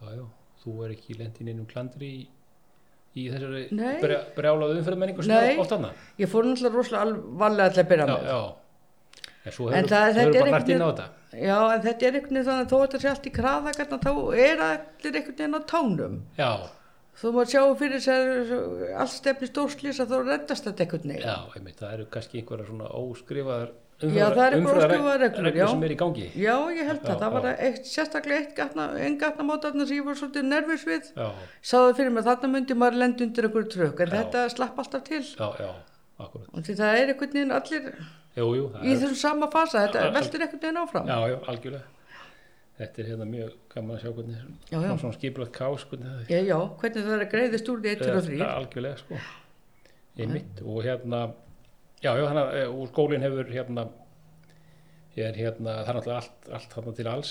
já, já, þú er ekki lendin innum klandri í, í þessari Nei. brjá, brjálaðu umferðmenningu sem Nei. er oft annað. Ég fór náttúrulega rosalega alvarlega til að byrja Já, með. já, en svo En hefur, þú það- þetta hefur er bara einhvern lært inn á veginn- þetta. Já. en þetta er einhvern veginn þannig að þó að þetta sé allt í kraða, gætna, þá er allir einhvern veginn á tánum. Já, Þú maður sjá fyrir þess að allt stefni stórslýs að þú reddast þetta einhvern veginn. já, einmitt, það eru kannski einhverja svona óskrifaðar Já, það eru einhverjar umferðar- óskrifaðar reglur, já. sem er í gangi. Já, ég held Já, að það var já. eitt, sérstaklega eitt gatna, einn gatnamótarna sem ég var svolítið nervis við. Já, Sáðu fyrir mig þarna myndi maður lenda undir einhverju trökk, en Já. þetta slapp alltaf til. já, já, akkurat. Og því það er einhvern veginn allir Jú, jú, það í er, þessum sama fasa, Já, já. þetta veldur einhvern veginn áfram. já, já, algjörlega. Þetta er hérna mjög gaman að sjá hvernig, Já, já. svona- svona skipulagt kás, hvernig það Já, já, hvernig það er að greiðist úr því 1 og 3. Eh, algjörlega sko einmitt og hérna já, já, þannig að eh, og skólinn hefur hérna er hérna, það er náttúrulega allt, allt þarna til alls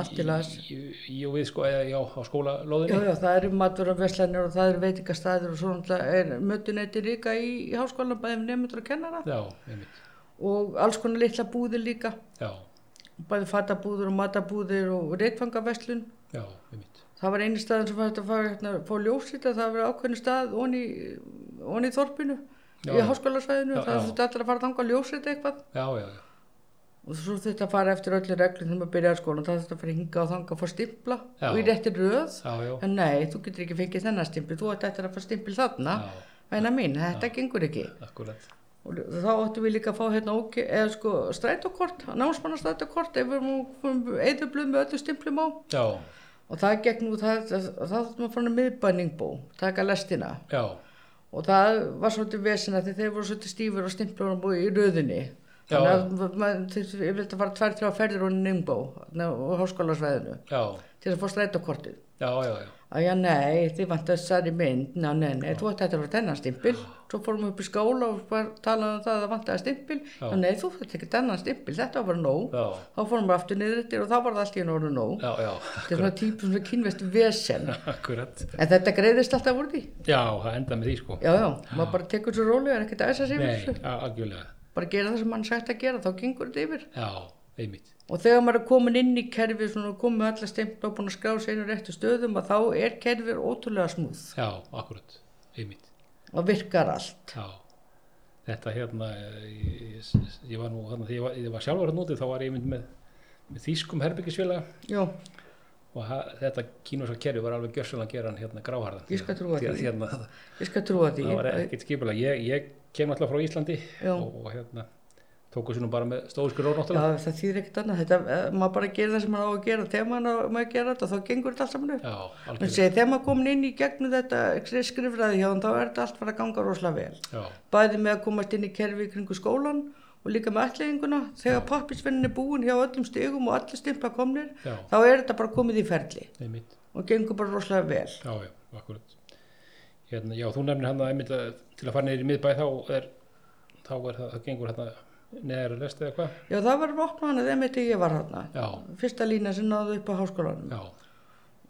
Allt til alls. í, í, í og við sko, eða já, á Já, skólalóðinni já, það eru maturumverslanir og það eru veitingastæðir og svo náttúrulega er mötuneyti líka í, í háskólanum bæðið nefndur og kennara já, einmitt, og alls konar litla búðir líka, já, bæði fatabúðir og matabúðir og reytfangaverslun. já, einmitt Það var eini staðin sem fannst að fara hérna, fá ljóslit að það var ákveðin stað onni on í þorpinu, Já, í já. háskólasvæðinu, Já, það já. þurfti allir að fara þangað ljóslit eitthvað já, já, já, og svo þurfti að fara eftir öllu reglum þegar maður byrjaði skólan, það þurfti að fara hinga og þangað að fá stimpla Já. og í réttir röð. já, já, En nei, þú getur ekki fengið þennan stimpil, þú ætti eftir að fá stimpil þarna, Já. væna mín, þetta gengur ekki. akkurat Og þá ættum við líka að fá hérna ok, eða sko strætókort, námsmannastrætókort, ef við erum eitthvað með öllu stimplum á. já, Og það gegn út, það, það, það þáttum að fara með miðbæningbó, taka lestina. já, Og það var svolítið vesina því þeir voru svolítið stífur og stimplur og búið í röðinni. Já. Þannig að maður þurfti yfirleitt að fara tvær, þrjá ferðir og nimbó og háskólasvæðinu já, til að fá strætókortið. já, já, já Æja, nei, þið vant þessari mynd, ná, nei, nei, þú ætti þetta að vera þennan stimpil, svo fórum við upp í skóla og bara talaðum um það að það vantaði stimpil, Já. já, nei, þú þetta ekki þennan stimpil, þetta var bara nóg, já, þá fórum við aftur niður eftir og þá var það allt í enn orðu nóg, já, já, þetta er svona típum svona kynvest vesen, akkurat en þetta greiðist alltaf úr því, já, það enda með því sko já, já, maður bara tekur svo rólega, er ekkert að æsa sig nei, yfir þessu, a- algjörlega, bara gera það sem mann sagt að gera, þá gengur þetta yfir. já, einmitt Og þegar maður er komin inn í kerfið, svona komið alla stimpla og búin að skrá sér einu réttu stöðum að þá er kerfið ótrúlega smúð já, akkurat, einmitt og virkar allt. Já, þetta hérna, eh, ég, ég, ég var nú þarna, þegar ég var, ég var sjálfur að núti þá var ég mynd með, með þýskum herbyggisfélaga Já, og ha, þetta kínusa kerfi var alveg gjörsulega að gera hann hérna gráharðan. Ég skal trúa því. því. Hérna, það, ég skal trúa því. það var ekkert skipulega, ég, ég kem alltaf frá Íslandi Já. og, og hérna tóku sér nú bara með stóðskur róð Já, náttúrulega. það þýðir ekkert annað, þetta, eh, maður bara gerir það sem maður á að gera, þegar maður á maður að gera þetta þá gengur þetta allt saman upp. Já, En algjörlega. segi, þegar maður komin inn í gegnum þetta skrifræði hjá hann, þá er þetta allt fara að ganga rosalega vel. Já, Bæði með að komast inn í kerfi í kringu skólan og líka með ætleginguna, þegar pappisvennin er búin hjá öllum stigum og allir stimpla komnir, Já. þá er þetta bara komið í ferli einmitt. og gengur bara rosalega vel. Já, já, akkurat. Hérna, já, þú nefnir hann að einmitt að til að fara niður í miðbæ þá er, þá er það, það gengur hérna neðar að lesta eða hvað? Já, það var opnað hann að þeim eitthvað ég var hann. Já, Fyrsta lína sem náðu upp á háskólanum. já,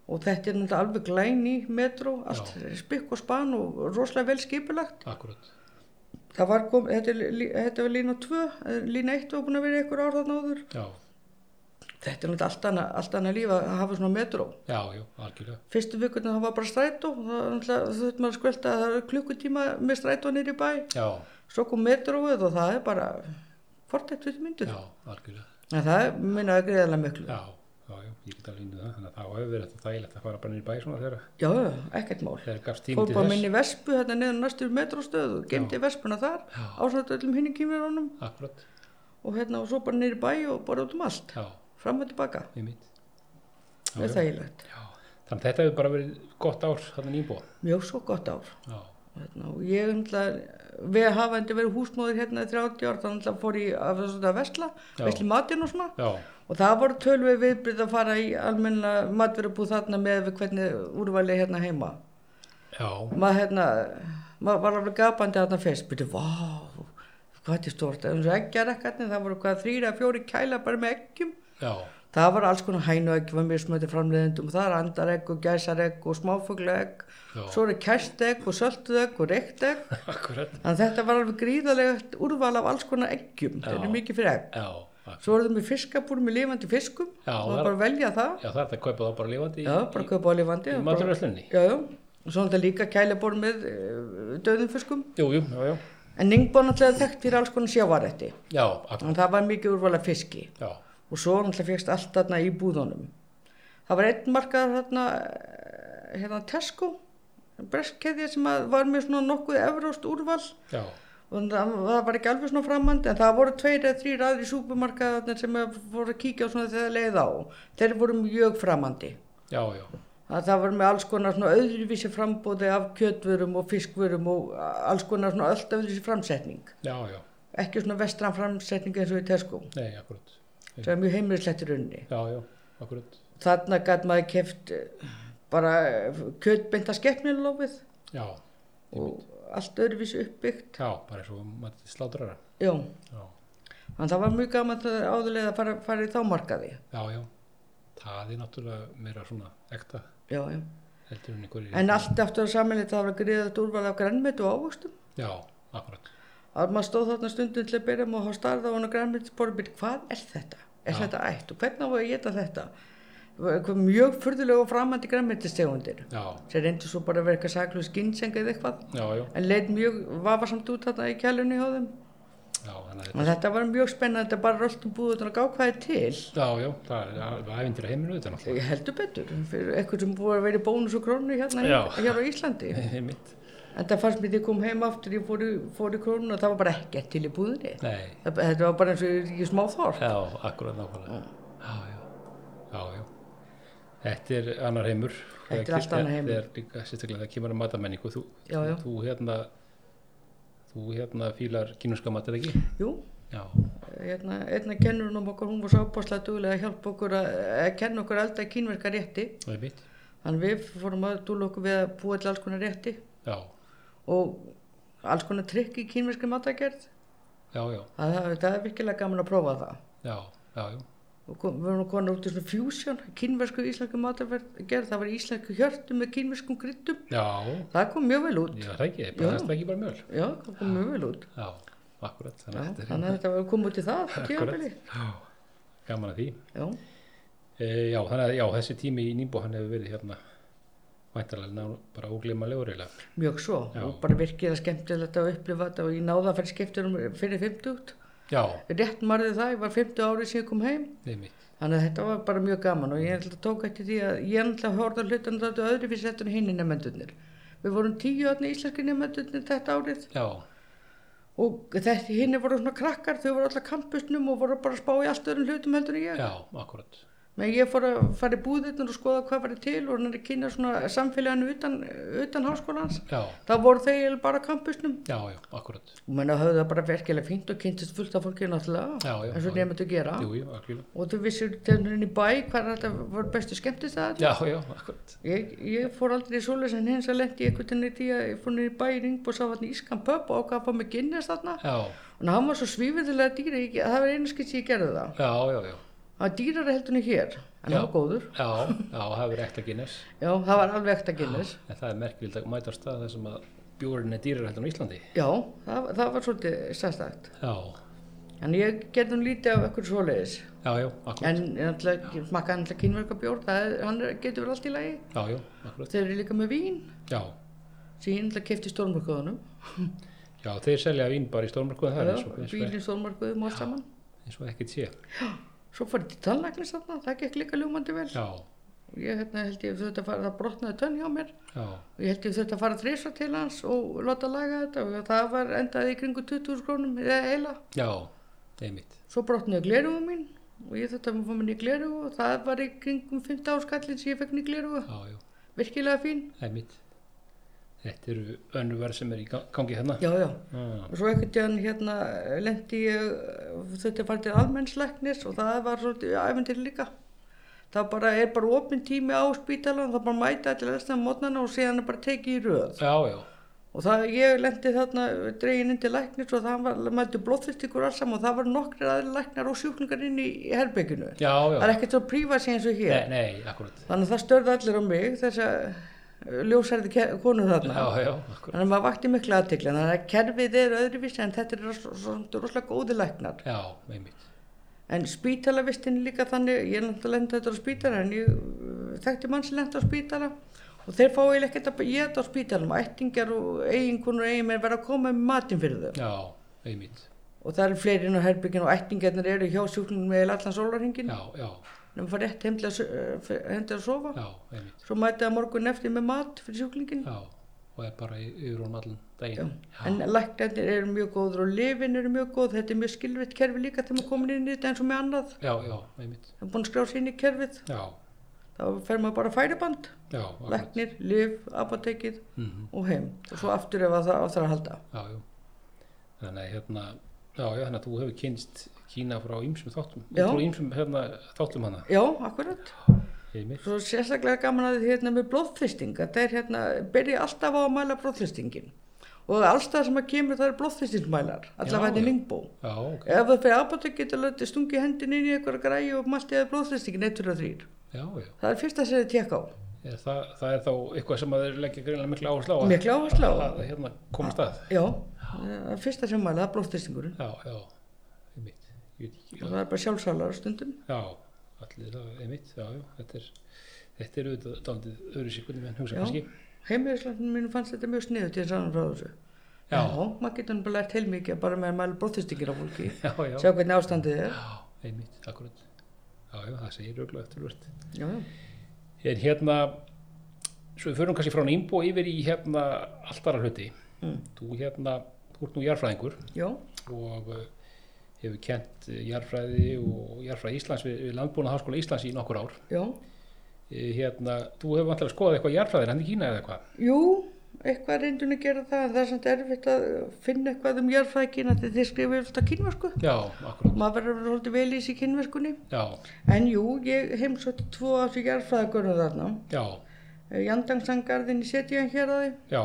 og þetta er náttúrulega alveg glæni metró, allt spikk og span og rosalega vel skipulagt. akkurat. Það var kom, þetta, er lí- þetta var lína 2, lína 1 var búin að vera í einhver ár þarna áður. Já, Þetta er náttúrulega allt annað, allt annað líf að hafa svona metró. já, já, algjörlega. Fyrstu vikurna það var bara strætó, það var náttúrulega þú þurft maður að skvelta að það er klukkutíma með strætó niður í bæ. Já, Svo kom metróið og það er bara fortætt við myndur. já, algjörlega. En það minnaði greiðarlega miklu. Já. Já, já, já, ég get alveg inn í það. Þannig að það hefur verið þetta þægilegt að fara bara niður í bæ svona þegar Já, ekkert mál. þegar gafst tíma Fór til bara þess. minni vespu hérna niður næstur metróstöðu, gemdi vespuna þar, Já. ásamt öllum hinn í kýmurunum. Akkurat, og hérna og svo bara niður í bæ og bara út um allt, já, fram og tilbaka, ég mitt. það er þægilegt. Já, þannig að þetta hefur bara verið gott ár þannig nýbúa. Mjög svo gott ár. Já, Hérna, og ég umtla við hafandi verið húsmóður hérna í 30 ár þannig að fór ég að, að, að vesla Já. vesli matinn og svona já, og það voru tölvið viðbyrð að fara í almenna matverubúð þarna með við hvernig úrvali hérna heima já, maður hérna maður var alveg gapandi þarna fyrst byrju, vá, hvað þetta er stort en þessu eggjarekkarnir, það voru hvað þrýra, fjóri kæla bara með eggjum já, það var alls konar hænu egg, var mjög smöti framleiðendum það er andaregg og gæsaregg og smáfugla egg Já. svo eru kæst egg og söltuð egg og reykt egg akkurat, Þannig að þetta var alveg gríðalegt úrval af alls konar eggjum, þetta er mikið fyrir egg. já, akkurat. Svo voru þau með fiskabúr með lifandi fiskum, Já, það það- var bara að velja það, já, það er þetta að kaupa þá bara lifandi í- já, bara að kaupa á lifandi. í og bara- maturverslunni. Já, já, og svo náttúrulega líka kælabúr með eh, döðum fiskum. Jú, jú, já, já, En Ningbó náttúrulega þekkt fyrir alls konar sjávarætti, já, akkurat, þannig að það var mikið úrval af fiski já, og svo náttúrulega fegst allt þarna í búðunum. Það var einn markaður þarna, eh, hérna Tesco, breskkeðja sem að var með svona nokkuð evróst úrval já, og það, það var ekki alveg svona framandi en það voru tveir eða þrýr aðri súpumarkaðarnir sem að voru að kíkja á svona þegar leið á þeir voru mjög framandi já, já, það, það voru með alls konar svona öðruvísi frambóði af kjötvurum og fiskvurum og alls konar svona öll öðruvísi framsetning já, já, ekki svona vestran framsetning eins og í Tesco nei, akkurat, sem er mjög heimilislegt í rauninni já, já, akkurat, þarna gæt maður keft bara kjötbynda skeppnilófið já, og allt öðruvísi uppbyggt já, bara eins og maður slátrara, já, já, þannig að það var mjög gaman áðurlega að fara, fara í þá markaði já, já, það er náttúrulega meira svona ekta já, já heldur en einhverjir. En allt eftir að samanleita það var gríðast úrval af grænmeti og ávöxtum. Já, akkurat, Að maður stóð þarna stundum til að byrja með og þá starði á hann á grænmetisborðbyrg, hvað er þetta? Er Já. þetta ætt og hvernig á ég að geta þetta? Eitthvað mjög furðulega og framandi grænmetistegundir. já, Þeir reyndu svo bara að vera eitthvað saklu skinnseng eða eitthvað. já, já, En leit mjög vafarsamt út þarna í kælunni hjá þeim. já, þannig að En þetta var mjög spennandi að bara röltum búið og gá hvað er til. Já, já, það er alveg æfintir að heiminu þetta náttúrulega. Ég heldur betur fyrir eitthvað sem búið að vera í bónus og krónu hérna, Já. hér á Íslandi. Heimitt. En það fannst mér þegar ég kom heim aftur, ég fór í, fór í krónun og það var bara ekkert til í búðinni. Nei, Það- Þetta var bara eins og ég- ég smá þorf. já, akkurat nákvæmlega. Já, já, já, já. Þetta er annar heimur. Þetta er allt annar heimur. Þetta er líka, sérstaklega, það kemur að matamenningu. Þú, Já, já. þú hérna, þú hérna fílar kínurska mat, er það ekki? Jú, Já, hérna, einna kennurinn um okkar, hún var svo ábáslega duglega að hjálpa okkur að, að kenna okkur alltaf kínverka rétti. það er mitt. Þannig við fórum að dúla okkur við að búa til alls konar rétti Já, og alls konar trikk í kínverski matagerð. já, já, Það, það, það er virkilega gaman að prófa það. já, já, já. Og kom, við vorum konar út í svona fusion, kínversku og íslensku matagerð, það var íslensku hjörtu með kínverskum kryddum. Já, Það kom mjög vel út. já, það ekki, Já. bara, það er ekki bara mjöl. Já, það kom mjög vel út. Já, akkurat, Já, þannig að þetta er þannig að þetta var komið út í það, það tímabili. Já, gaman að því. Já, E, já, þannig að já, þessi tími í Nýmbó hann hefur verið hérna væntalega ná, bara óglímalegur eiginlega. mjög svo. Já. Og bara virkilega skemmtilegt að upplifa þetta og ég náða að fyrir skipturum fyrir 50. Já, Rétt marði það, ég var 50 árið sem ég kom heim. einmitt. Þannig að þetta var bara mjög gaman og ég ætla að tók eftir því að ég ætla að horfa hlutan þetta öðru fyrir þetta en hinn nefndunir. Við vorum tíu öðna íslenski nefndunir þetta árið Já, og þessi hinn voru svona krakkar, þau voru alltaf kampusnum og voru bara að spá í allt öðrum hlutum heldur en ég. já, akkurat. Men ég fór að fara í búðirnar og skoða hvað var til og hann er að kynna svona samfélaginu utan, utan háskólans. Já, Það voru þeir eiginlega bara á kampusnum. já, já, akkurat. Og menna höfðu það bara virkilega fínt og kynntist fullt af fólki náttúrulega. Já, já, eins og já. nefnum þetta gera. Jú, jú, algjörlega. Og þau vissir tennurinn í bæ hvað þetta var bestu skemmtist það. Já, já, akkurat. Ég, ég fór aldrei í svoleiðis en hins að lendi ég einhvern veginn í því að ég fór niður í bæ í ringbú og sá hann í Ískan pöpp og ákvað að fá mig Guinness þarna. Já, Og hann var svo svífurðilega dýra, ég, það var einu skilt ég gerði það. já, já, já. Það var dýrara heldur en hér, Já. en það var góður. Já, já, það hefur ekta Guinness. Já, það var alveg ekta Guinness. En það er merkild að mæta á stað þar sem að bjórinn er dýrar heldur á Íslandi. Já, það, það var svolítið sérstakt. Já, En ég gerði hún lítið af ekkur svoleiðis. já, já, akkurat. En ég náttúrulega, ég smakka hann alltaf kínverkabjór, það er, hann er- getur verið allt í lagi. Já, já, akkurat. Þeir eru líka með vín, Já, sem ég náttúrulega kefti í stórmarkaðunum. já, þeir selja vín bara í stórmarkuðum það er eins og, eins og, Vín í stórmarkaðum og allt saman. eins og ekkert sé. Svo fór ég til tannlæknis þarna, það gekk líka ljúmandi vel. Já, Ég hérna, held ég þurfti að fara, það brotnaði tönn hjá mér. já, Og ég held ég þurfti að fara þrísa til hans og láta laga þetta og það var endaði í kringu 20.000 krónum eða eila. já, einmitt. Svo brotnaði glerugu mín og ég þurfti að fá mér í glerugu og það var í kringum 15 áskallin sem ég fekk í glerugu. Já, já. Virkilega fín. Einmitt. Þetta eru önnu verð sem er í ga- gangi hérna. já, já. Já. Og svo ekkert tíðan hérna lendi ég þetta var til almennslæknis og það var svolítið æfindir líka. Það bara er bara opinn tími á spítalan, það bara mæta allir lesna mótnana og síðan er bara tekið í röð. já, já, Og það, ég lendi þarna dregin inn til læknis og það var, mættu blóðfyrstíkur alls saman og það var nokkri aðri læknar og sjúklingar inn í herbygginu. já, já. Það er ekkert svo prífa sig eins og hér. Nei, nei, akkurat. Þannig að það störði allir á mig, uh, þess að ljósærði konu þarna. Já, já, akkurat. Þannig að maður vakti miklu aðtikli, þannig að kerfið er öðruvísi en þetta er rosalega góði læknar. Já, einmitt. En spítalavistin er líka þannig, ég er náttúrulega lenda þetta á spítala en ég uh, þekkti mann sem lenda á spítala og þeir fá eiginlega ekkert að ég þetta á spítalanum, ættingjar og eiginkunur og eiginmenn verða að koma með matinn fyrir þau. Já, einmitt. Og það eru fleiri inn á herbyggin og ættingjarnir eru hjá sjúklingunum með allan sólarhingin, Já, já, þannig að fara rétt heim til að, s- uh, heim til að sofa. já, einmitt. Svo mæti það morgun eftir með mat fyrir sjúklingin. Já, og er bara í- yfir honum allan daginn. En læknarnir eru mjög góður og lifin eru mjög góð, þetta er mjög skilvitt kerfi líka þegar maður komin inn í þetta eins og með annað. Já, já, einmitt. Það er búin að skrá sér inn í kerfið, Já, þá fer maður bara færiband, já, akkurat. læknir, lif, apotekið Mm og heim. Og svo aftur ef að það á það að halda. Já, já. Þannig að hérna, já, já, þannig að þú hefur kynst Kína frá ýmsum þáttum. Já. Frá ýmsum hérna, þáttum hana, Já, akkurat. einmitt. Svo sérstaklega gaman að þið hérna með blóðþristing, að það er hérna, byrja alltaf á að mæla blóðþristingin. Og allstað sem að kemur það eru blóðþristingsmælar, allavega Já, þetta já. er lingbó. Já, ok. Ef það fyrir apotek getur lötti stungi hendin inn í einhverja græi og mælt eða blóðþristingin 1-3. Já, já. Það er fyrsta sem þið tekka á. Er það, það er þá eitthvað sem að þeir leggja greinlega mikla áherslu á að, Mikla áherslu á. að, að hérna komast að. Já, það er fyrsta sem mæla, það er blóðþristingurinn. Já, já, einmitt. Ég veit ekki, Og það er bara sjálfsálar á stundum. já, allir það, einmitt, já, já, þetta er, þetta er auðvitað daldið öðru síkunni menn hugsa Já. kannski. Heimilislandin mínu fannst þetta mjög sniðu til þess að hann frá þessu. Já. maður getur hann bara lært heilmikið bara með að mæla blóðþristingir á fólki. Já, já, Sjá hvernig ástandið er. já, einmitt, akkurat. Já, já, það segir auðvitað eftirvöld. Já, já. En hérna, svo við förum kannski frá nýmbó yfir í hérna allt aðra hluti. Mm. Þú hérna, þú ert nú jarðfræðingur Já, og uh, hefur kent eh, jarðfræði og jarðfræði Íslands við, við Landbúna Háskóla Íslands í nokkur ár. já. Eh, Hérna, þú hefur vantilega skoðað eitthvað jarðfræðir, hann í Kína eða eitthvað. Jú, eitthvað reyndun að gera það, en það er samt erfitt að finna eitthvað um jarðfrækina þegar þið skrifir alltaf kynversku. Já, akkurat. Maður verður að vera svolítið vel í sig kynverskunni. Já, En jú, ég heimsótti tvo af þessu jarðfræðagörnum þarna. já, Jandangsangarðin í Setjan hérraði já,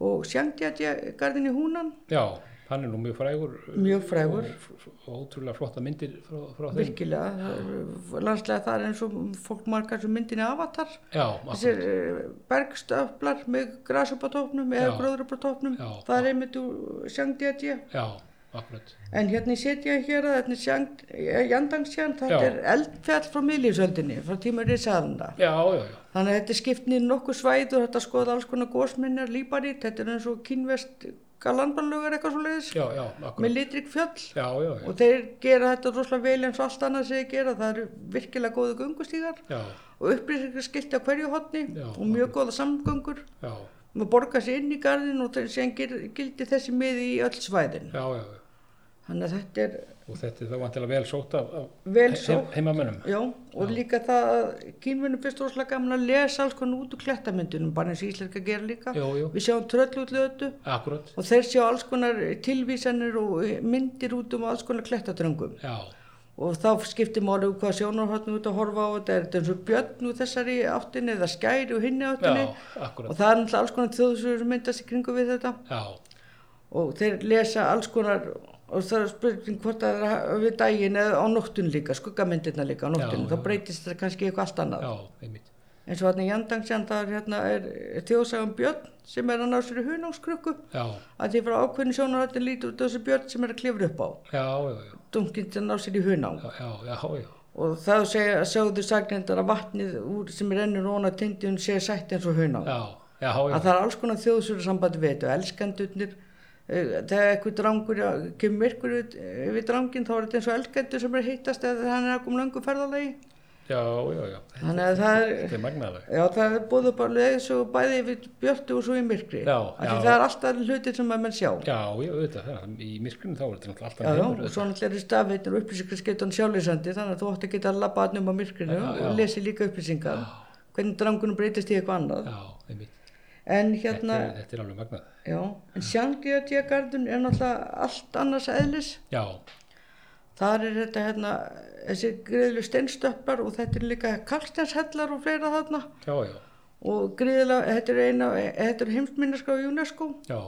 og Sjangdjadjargarðin í Húnan. já. Hann er nú mjög frægur. eh, Mjög frægur. og f- f- Og ótrúlega flotta myndir frá, frá þeim. Virkilega, það er- eh, landslega það er eins og fólk margar sem myndinni avatar. Já, akkurat. Þessir eh, bergstöflar með gras upp á tópnum eða Já. gróður upp á tópnum. Já. Það er einmitt úr Sjangdjadja. Já, akkurat. En hérna í Setjan hérraði, hérna í Sjang- eh, Jandangsjan, þetta Já. er eldfjall frá miðlífsöldinni, frá tíma risaðanda. Já, já, já, Þannig að þetta er skipt niður nokkuð svæð og þetta skoða alls konar gósminjar, líbarit, þetta er eins og kínvestska landbarnlögar eitthvað svo leiðis, já, já, akkurat. með litrik fjöll Já, já, já, og þeir gera þetta rosalega vel eins og allt annað sem þeir gera, það eru virkilega góðu göngustígar já, og upplýsingarskilti á hverju hotni Já, og mjög góða samgöngur, já, maður borgar sér inn í garðin og þeir séðan gildi þessi miði í öll svæðin. já, já, já. Þannig að þetta er Og þetta er þá vantilega vel sótt af, af vel he- svo. he- heimamönnum. Já, og líka það að kínvinnum fyrst rosalega gaman að lesa alls konar út úr klettamyndunum, bara eins og íslenska gera líka. Jú, jú, Við sjáum tröllútlötu akkurat. og þeir sjá alls konar tilvísanir og eh, myndir út um alls konar klettatröngum. Já, Og þá skiptir máli um hvað sjónarhóttnum út að horfa á þetta, er þetta eins og björn úr þessari áttinni eða skæri úr hinni áttinni. já, akkurat. Og það er náttúrulega alls konar þjóðsugur sem myndast í kringum við þetta. Já, Og þeir lesa alls konar, og það er spurning hvort það er ha- við daginn eða á nóttun líka, skuggamyndirna líka á já, nóttun. Þá já. breytist þetta kannski í eitthvað allt annað. já, einmitt. En svo hann í Jandangsjan, það er, hérna, er þjóðsagan björn sem er að ná sér í hunungskrukku. Já, að því frá ákveðinu sjónarhættin lítur út af þessu björn sem er að klifra upp á já, já, já, dunkinn sem ná sér í hunang já, já, já, já, og það segja, sögðu sagnendar að vatnið úr, sem rennur óna tindjun sé sætt eins og hunang já, já, já, að það er alls konar þjóðsöru sambandi við þetta elskendurnir eh, þegar eitthvað drangur eh, kemur myrkur við, eh, við drangin þá er þetta eins og elskendur sem er að hittast eða hann er að koma löngu ferðalegi já, já, já, þannig að það er þetta er magnaðlega. Já, það er búið upp á leiðisögu bæði við björtu og svo í myrkri. Já, Af því já. Það er alltaf hlutir sem að menn sjá. Já, já, auðvitað, það, í myrkrinu þá er þetta náttúrulega alltaf Já, já, heimur. og svo náttúrulega eru stafveitnir og upplýsingarskeitan sjálflýsandi þannig að þú ótt að geta að labba hann um á myrkrinu Já, já. og lesi líka upplýsingar hvernig drangunum breytist í eitthvað annað Já, einmitt, en Þetta, hérna, er- þetta er alveg magnað. já, en Sjangjötjagardun er náttúrulega allt annars eðlis. Já, Þar er þetta hérna, þessi greiðlu steinstöppar og þetta er líka kalkstenshellar og fleira þarna já, já, og greiðlega, þetta er, eina, þetta er heimsminneska á UNESCO já,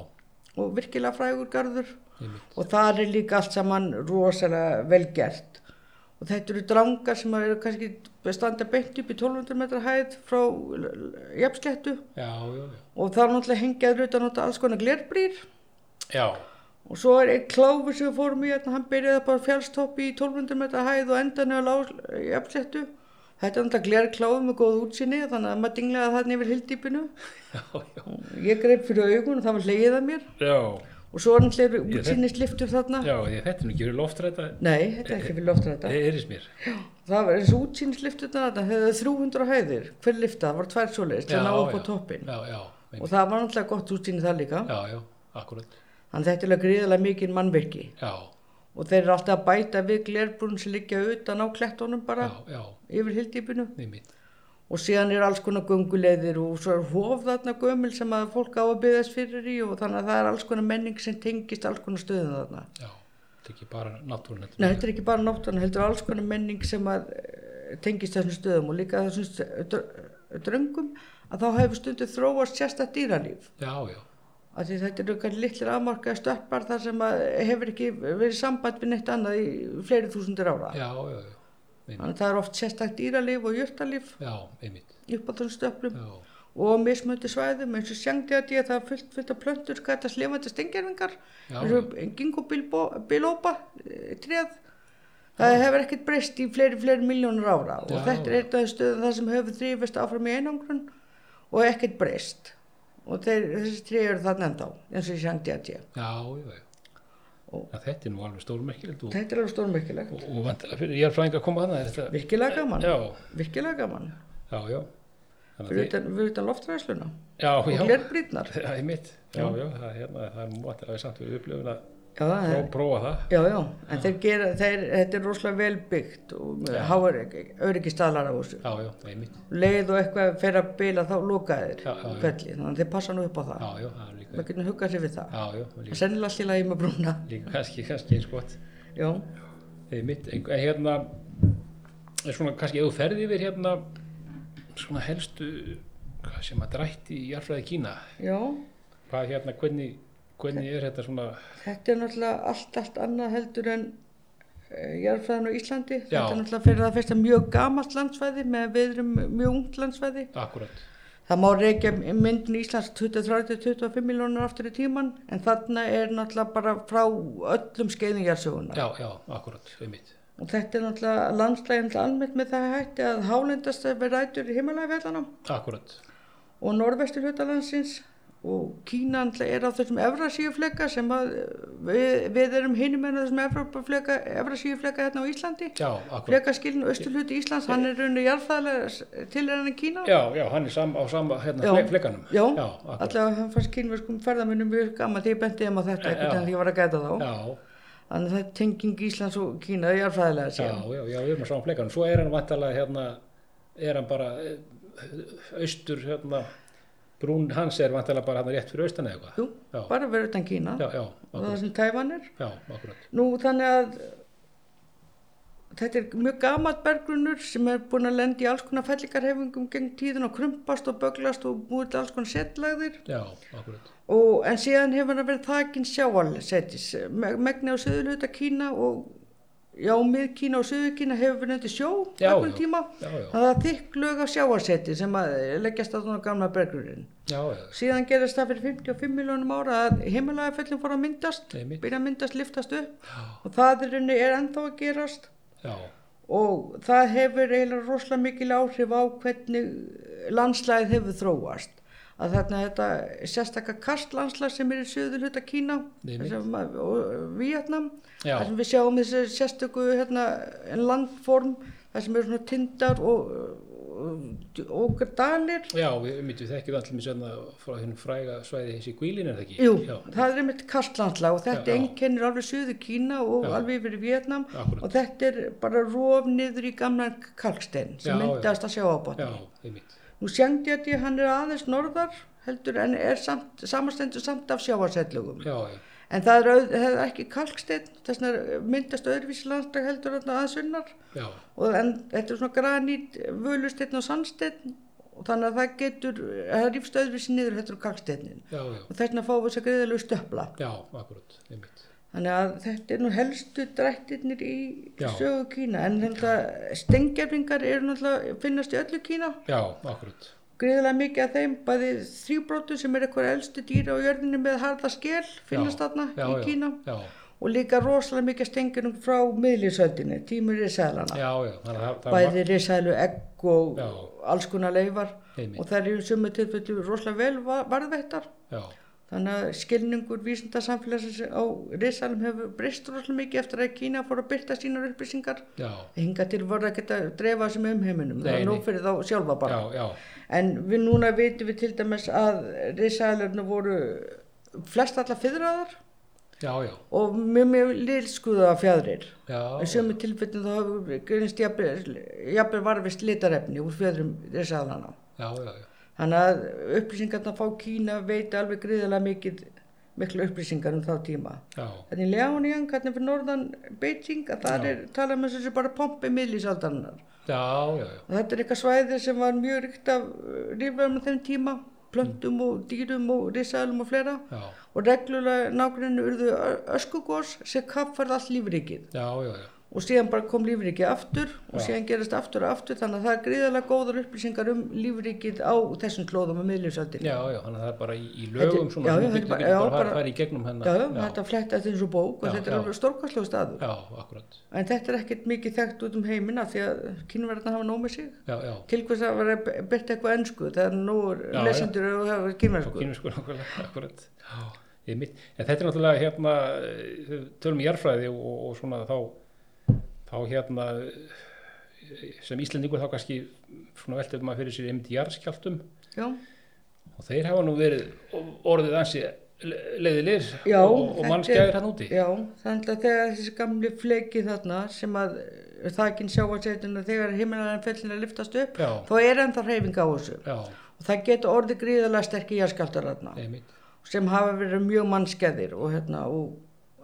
og virkilega frægur garður einmitt. og þar er líka allt saman rosalega vel gert og þetta eru drangar sem eru kannski standa beint upp í 1200 metra hæð frá jafnsléttu Já, já, já. og þar náttúrulega hengjaður utan átta alls konar glerbrýr Já, og svo er einn kláfur sem við fórum í hérna, hann byrjaði bara fjálstoppi í 1200 metra hæð og endan er lág jafnsléttu þetta er náttúrulega glerkláfur með góð útsinni þannig að maður dinglaði þarna yfir hildýpinu já, já, ég greip fyrir augun og það var hlegið að mér já, og svo er náttúrulega Ég- útsinnisliftur þarna já, ég- þetta er nú ekki verið loftræta, nei, þetta er ekki fyrir loftræta það er í smér. Það var eins og útsýnslifturna þarna, höfðu 300 hæðir, hver lifta, það var tvær svoleiðis til að ná upp á toppin. Já, já, einmitt. Og það var náttúrulega gott útsýni það líka. já, já, akkurat, Þannig þetta er alveg gríðilega mikið mannvirki. já, Og þeir eru alltaf að bæta við glerbrún sem liggja utan á klettunum bara, já, já, yfir hildýpinu. einmitt, Og síðan er alls konar gönguleiðir og svo er hof þarna gömul sem að fólk á að byggðast fyrir í og þannig að það er alls konar menning sem tengist alls konar stöðum þarna. já, þetta er ekki bara náttúrun, Nei, þetta er ekki bara náttúran, heldur alls konar menning sem að eh, tengist þessum stöðum og líka þessum st- dr- eh, dröngum að þá hefur stundu þróast sérstætt dýralíf. já, já, Af því þetta eru kannski litlir afmarkaða stöppar þar sem að hefur ekki verið samband við neitt annað í fleiri þúsundir ára. já, já, já, einmitt, Þannig að það er oft sérstætt dýralíf og jurtalíf já, einmitt, upp á þessum stöplum já, og á mismöndu svæðum eins og sjangdi að ég það er fullt, fullt af plöntur skætast lifandi stengjörfingar Já. eins og gingo bilópa treð eh, það hefur ekkert breyst í fleiri, fleiri miljónur ára og Já. þetta er eitt af stöðum það sem hefur þrýfist áfram í einangrun og ekkert breyst og þeir, þessi treð eru þarna ennþá eins og sjangdi að já, ég já, já. Og- Já, þetta er nú alveg stórmerkilegt og, þetta er alveg stórmerkilega, og, og vantilega fyrir ég er fræðing að koma þannig, þetta, virkilega gaman Eh, já, virkilega gaman, já, já, þannig að fyrir þið, utan, fyrir utan loftræðsluna já, og já, glerbrýtnar já, einmitt, já, já, það er hérna, það er vantilega samt við upplifun að já, það er pró- prófa það, Já, já, en þeir gera, þeir, þetta er rosalega vel byggt og háar öryggi staðlar á þessu. já, já, einmitt, Leið og eitthvað fer að bila þá loka þeir Já, já, já. kvelli, þannig að þeir passa nú upp á það. já, já, það er líka, Maður getur hugað sér við það. já, já, Það líka, er sennilega allt í lagi með brúna. líka kannski, kannski eins gott. Já, Þegar mitt, en en hérna, er svona kannski ef þú ferði yfir hérna, svona helstu, hvað sem að drætti í jarfræði Kína, já, hvað hérna, hvernig, hvernig er þetta svona, þetta er náttúrulega allt, allt annað heldur en uh, jarðfræðin á Íslandi. Já. Þetta er náttúrulega fyrir það fyrsta mjög gamalt landsvæði með við erum mjög ungt landsvæði. akkurat, Það má reykja myndin Íslands 20-30-25 miljónur aftur í tíman en þarna er náttúrulega bara frá öllum skeiðingjarsögunar. já, já, akkurat, einmitt, Og þetta er náttúrulega landslægin almennt með það hætti að hálendast er verið rætur í himalægveldanum akkurat, og norðvestur hlutalandsins og Kína náttúrulega er á þessum Evrasíufleka sem að við, við erum hinum en á þessum Evrasíufleka hérna á Íslandi. já, akkurat. Flekaskilin austur hluti Íslands, hann er rauninu jarðfæðlega til enn Kína. Já, já, hann er sam, á sama, hérna, Já. fle, flekanum, Já, já, akkurat, allavega hann fannst kynverskum ferðamönnum mjög gaman þegar ég benti þeim á þetta Já. eitthvað en ég var að gæta þá. já, Þannig að þetta er tenging Íslands og Kína, ég er fræðilega að já, segja. já, já, við erum á sama flekanum, svo er hann vantalega, hérna, er hann bara, eh, austur, hérna, brún hans er vantalega bara hérna rétt fyrir austan eða eitthvað, Jú, Já. bara verið utan Kína já, já, og akkurat, það sem Tævan er. já, akkurat. Nú þannig að þetta er mjög gamalt bergrunnur sem er búin að lenda í alls konar fellingarhefingum gegn tíðin og krumpast og böglast og búið til alls konar setlæðir. Já, akkurat. Og, en síðan hefur hann verið þakin sjáalsetis, megni á söðurluta Kína og já, mið Kína og söður Kína hefur verið undir sjó Já, einhvern já. tíma. Já, já, Það er þykk lög á sjáalseti sem að leggjast á þannig gamla bergrurinn. já, já, Síðan gerist það fyrir 55 miljónum ára að himalagafellin fór að myndast, Einmitt. byrja að myndast, liftast upp já, og það er, henni- er ennþá að gerast já, og það hefur eiginlega rosalega mikil áhrif á hvernig landslæðið hefur þróast að þarna þetta sérstakka kastlandslæð sem er í söður hluta Kína Einmitt. sem, að- og Vietnam Já. þar sem við sjáum þessi sérstöku hérna, landform þar sem eru svona tindar og, og, og dalir já, við myndum þekkið allir mér sérna frá hinn fræga svæði þessi guílin er það ekki? Jú, Já, það er einmitt kastlandslag og Já, þetta já. einkennir alveg suðu Kína og Já. alveg yfir í Vietnam Akkúrat. og þetta er bara rof niður í gamlan kalkstein sem Já, já. myndast að sjá á já, botni. einmitt, Nú Sjangdjati hann er aðeins norðar heldur en er samt, samastendur samt af sjávarsellugum. já, já, En það er auð- það er ekki kalksteinn, þess vegna myndast öðruvísi landslag heldur þarna að sunnar já, og en, þetta er svona granít, völusteinn og sandsteinn og þannig að það getur, það rýfst öðruvísi niður heldur en kalksteinin já, já, og þess vegna fáum við þess að greiðalegu stöfla. já, akkurat, einmitt. Þannig að þetta er nú helstu drættirnir í Já. sögu Kína en þetta stengjafningar eru náttúrulega finnast í öllu Kína Já, akkurat, greiðilega mikið af þeim, bæði þrjúbrótum sem er eitthvað elstu dýra á jörðinni með harða skel finnast þarna já, í já, Kína já, og líka rosalega mikið stengjurum frá miðlisöldinni, tímur risaðlana, já, já, þannig að það, það er bæði risaðlu egg og Já. alls konar leifar Einmitt. og það eru í sumu tilfellu rosalega vel va- varðveittar margt- já, Þannig að skilningur vísindarsamfélagsins á risalum hefur breyst rosalega mikið eftir að Kína fór að byrta sínar upplýsingar. já, Hinga til voru að geta dreifa þessum um heiminum, það Nei, er nei. nóg fyrir þá sjálfa bara. já, já, En við núna vitum við til dæmis að risalurnu voru flest alla fyrraðar já, já, og mjög mjög lilskuða fjadrir. Í já, sömu tilfellin þá hefur grunist jafnvel varfist litarefni úr fjöðrum risalana. já, já, já, Þannig að upplýsingarna fá Kína veit alveg gríðarlega mikið, miklu upplýsingar um þá tíma. já, Þannig Leoníang, hvernig fyrir norðan Beijing, að það er talað með þessu bara pompi miðlísaldarinnar. já, já, já, Og þetta er eitthvað svæði sem var mjög ríkt af rífum á þeim tíma, plöntum og dýrum og risaðlum og fleira. já, Og reglulega nágrinu urðu öskugós sem kaffar allt lífrikið. já, já, já, Og síðan bara kom lífrikið aftur og Já. síðan gerist aftur og aftur þannig að það er gríðarlega góðar upplýsingar um lífrikið á þessum klóðum á miðlífsaldinni. já, já, þannig að það er bara í, í lögum Þetta- svona, já, já, já, já, þetta getur bara- bara já, að fara, bara- fara í gegnum hennar, Já, þetta flettast eins og bók og Já, þetta er já. alveg stórkastlega staður. já, akkurat, En þetta er ekkert mikið þekkt út um heiminn af því að kynverðarna hafa nóg með sig. já, já, Til hvers að vera be- byrta eitthvað ennsku, það er nú Já, já. lesendur og það er Sko. kynverðsku. Kínversku nákvæmlega, akkurat. Já, einmitt. En þetta er náttúrulega hérna, eh, tölum í jarðfræði og, og- og svona þá, þá hérna, eh, sem Íslendingur þá kannski svona veltið maður fyrir sér einmitt jarðskjáltum Já, og þeir hafa nú verið orðið ansi le- leiðilegir Já, og, og þetta mannskjæðir er- hann úti. já, þannig að þegar þessi gamli fleki þarna sem að þakin sjáarsveitinu þegar himnaðan fellin að liftast upp, Já, þá er ennþá hreyfing á þessu. já, Og það getur orðið gríðarlega sterkir jarðskjálftar þarna einmitt, sem hafa verið mjög mannskeðir og hérna og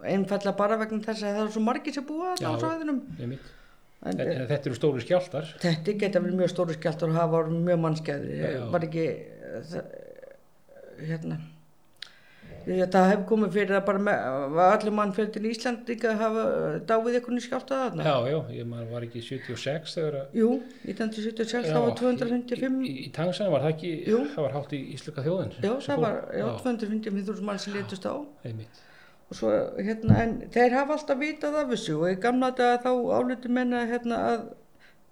einfalla bara vegna þess að það er svo margir sem búa þarna á Já. svæðinum. einmitt. En, En, en þetta eru stóri skjáltar. Þetta geta verið mjög stóru skjáltur og hafa orðið mjög mannskjæðir. Já. Var ekki, eh, það- hérna, ég- það hefur komið fyrir að bara með, var allir mannfjöldin í Ísland ekki að hafa eh, dáið einhvern skjálta þarna. Já, já, ég maður var ekki 76 þegar að... Jú, 1976 þá var 255, Í, í, í Tangsan var það ekki, Jú. það var hátt í Íslika þjóðin. já sem það fór. var, já, já, 255.000 mann sem letust á. einmitt, Og svo, hérna, en þeir hafa alltaf vitað af þessu og í gamla daga þá álutu menna, hérna, að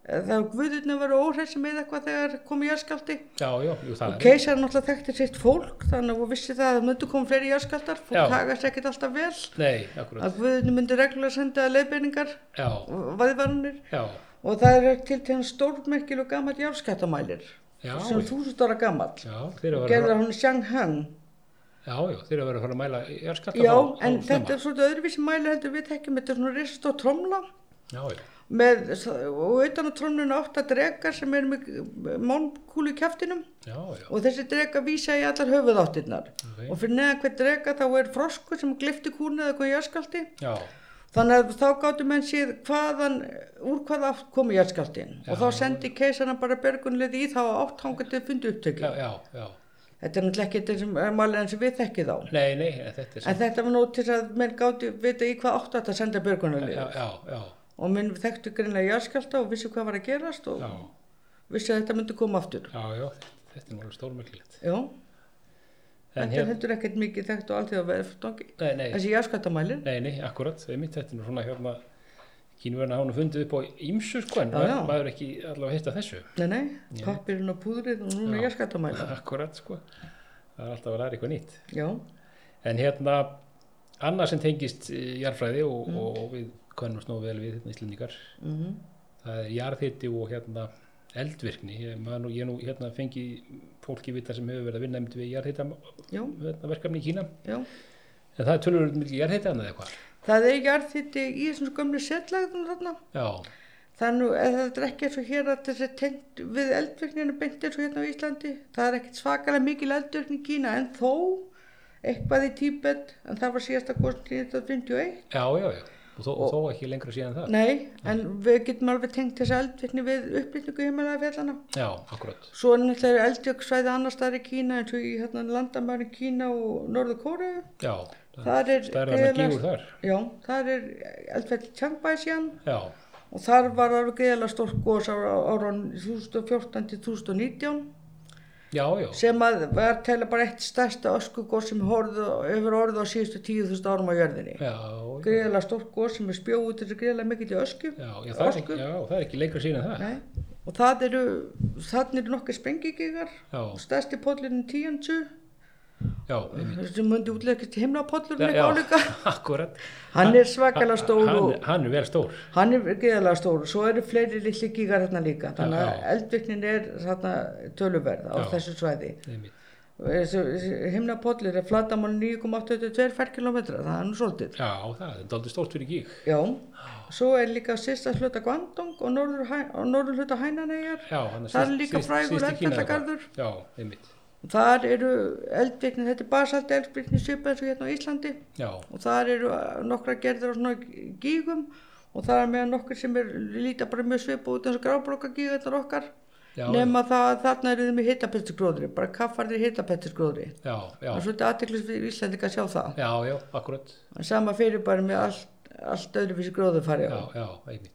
að þá guðirna verið óhreysi með eitthvað þegar komið jarðskjálti. já, já, jú, það Og er keisar náttúrulega þekkti sitt fólk þannig að hún vissi það að það myndu koma fleiri járskaldar Já. fólk hagast ekkert alltaf vel Nei, akkurat, að guðinu myndu reglulega senda leiðbeiningar já, og vaðvarnir já, og það er til til hann stórmerkil og gammal járskaldamælir já, sem er þúsund ára gammal já, þeir eru að vera, gerða hann í Shanghang já, já, þeir eru að vera að fara að mæla jarðskjálta. já en þetta er svona öðruvísi mæli heldur við tekjum þetta er svona rist og tromla Já, já, með, og utan á tromlunum átta drekar sem er með mánkúlu í kjæftinum já, já, og þessi drega vísa í allar höfuðáttirnar Ok. og fyrir neðan hver drega þá er frosku sem glifti kúnu eða eitthvað jæskaldi já, þannig að þá gáttu menn séð hvaðan, úr hvað átt komi jæskaldin og Já. þá sendi keisarna bara bergunlið í þá átt hangað til fundu upptöki já, já, já, þetta er náttúrulega ekki þessum málinn sem við þekkið á nei, nei, en þetta er en þetta var nót til þess að menn gáttu vita í hvað átt átt að senda bergunlið já, já, já, og menn þekktu greinlega jæskalda og vissi hvað var að gerast og já, vissi að þetta myndi koma aftur já, já, þetta er mjög stórmöggilegt. Já, En þetta hér, er heldur ekkert mikið þekkt og allt því að verðftangi nei, nei, þessi jæskaltamælin nei, nei, akkurat, einmitt, þetta er nú svona hérna, kínverðina hafa nú fundið upp á ímsu, sko, en Já, maður, já. maður ekki allavega hitta þessu. Nei, nei, pappirinn og púðrið og núna Já. jarðskattamæla. Akkurat, sko, það er alltaf að læra eitthvað nýtt. Já, En hérna, annað sem tengist eh, jarðfræði og, og við kannumst nú vel við hérna íslendingar, mm það er jarðhiti og hérna eldvirkni. Ég, maður nú, ég nú hérna fengi fólki vita sem hefur verið að vinna einmitt við jarðhita já, hérna, verkefni í Kína. já. En það er tölvöld mikið jarðhita annað eitthvað. Það er jarðhiti í þessum gömlu setlægðum þarna. Já, Þannig að þetta er ekki eins og hér að þessi tengt við eldvirkninu beint eins og hérna á Íslandi. Það er ekkert svakalega mikil eldvirkni í Kína en þó eitthvað í Tíbet en það var síðasta góðsum 1951. Já, já, já. Og þó, og þó ekki lengra síðan það. Nei, en við getum alveg tengt þessi eldvirkni við upplýtningu heimalega fjallana. Já, akkurat. Svo er náttúrulega eldjöksvæði annar staðar í Kína eins og í hérna, landamæri Kína og Norður Kóriðu. Já, Þar er það er alveg gríðarlega- gífur þar. Já, þar er eldfell Tjangbæ síðan Já, og þar var alveg greiðlega stórt gós ára, ára 2014 til 2019 já, já. sem að var telja bara eitt stærsta öskugós sem horfðu, hefur orðið á síðustu 10.000 árum á jörðinni. Já, já, Greiðlega stórt gós sem er spjóð út þessu greiðlega mikið í ösku. já, já, það er, Orku. ekki- já, það er ekki lengra síðan það. Nei. Og það eru, þannig eru nokkið sprengigigar, Já, stærsti póllurinn tíansu, já, einmitt. sem myndi útlegast himnapóllurinn já, eitthvað álíka. akkurat. Hann er svakalega stór og... Hann, hann er vel stór. Hann er geðalega stór og svo eru fleiri litli gígar hérna líka. Þannig Já. að eldvirknin er þarna töluverð á Já. þessu svæði. Einmitt. Himnapollir er flatamál 9,82 ferkilometra, það er nú svolítið. Já, það er aldrei stórt fyrir gík. Já, svo er líka sista hluta Guandong og norður, Hæ- og norður hluta Hænanegar. Já, hann Það er syðst- líka syðst- frægur syðst í Kína eldfjallagarður. eitthvað. Já, einmitt. Þar eru eldvirknin, þetta er basalt eldvirknin svipað eins og hérna á Íslandi Já, og þar eru eh, nokkra gerðir á svona gígum og það er með nokkur sem er líta bara mjög svipað út eins og grábróka gígarnar okkar. já, nema það að þarna eru þið með hittapettisgróðri bara kaffarnir hittapettisgróðri já, já, það er svolítið aðteklis fyrir Íslandika að sjá það já, já, akkurat. en sama fyrir bara með allt, allt öðruvísi gróðurfari Já, já, einmitt.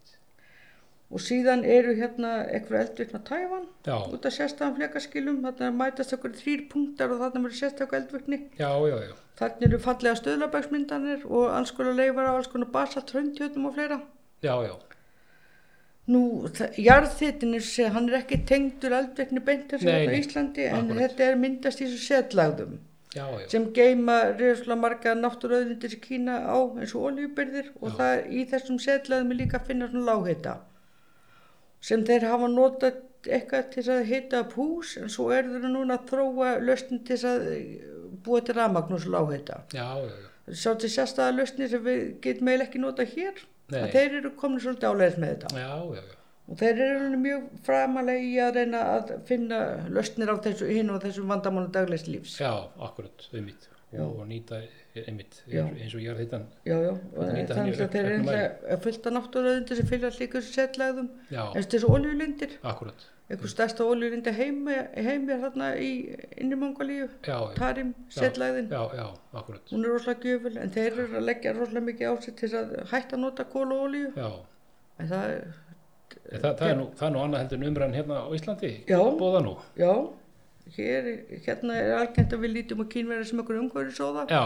og síðan eru hérna eitthvað eldvirkna Tævan Já, út af sérstæðan flekaskilum þarna mætast okkur þrýr punktar og þarna verður sérstakku eldvirkni já, já, já, þarna eru fallega stöðlabæksmyndanir og alls konar leifar á alls konar basalt hröndjötum og fleira já, já, Nú, jarðþittin er, sé- hann er ekki tengdur eldvirkni beint eins og Nei, hérna á nei, Íslandi en akkúrat. þetta er myndast í þessu setlægðum já, já, sem geima reyðslega marga náttúröðundir í Kína á eins og oljubyrðir og það er í þessum setlaðum er líka að finna svona lághita sem þeir hafa notað eitthvað til þess að hita upp hús en svo eru þeir núna að þróa löstin til þess að eh, búa til rafmagnus lághita. já, já, já. Sá til sérstæða löstin sem við getum eiginlega ekki notað hér Nei. að þeir eru komin svolítið álegis með þetta Já, já, já, og þeir eru alveg mjög framalega í að reyna að finna löstinir á þessu hinn og þessum vandamánu daglegs lífs. já, akkurat, einmitt. Og nýta, einmitt, Já. eins og ég er hittan. Já, já, og Þannig að hann þannig að er þeir eru auknum mæli. einhverja fullt af náttúrulegundir sem fylgja líka þessu setlæðum Já, eins og þessu oljulindir, akkurat, einhver stærsta oljulindi heimi, heimi er þarna í innri mongolíu, já, já, Tarim, setlæðin já, já, akkurat. hún er rosalega gjöful en þeir eru að leggja rosalega mikið á sig til þess að hætta að nota kóla og olju Já, en það er, En það, það, er nú, það er nú annað heldur en umræðan hérna á Íslandi. Já. Bóða nú. já hér, hérna er algengt að við lítum á kínverðar sem einhver umhverfisóða Já,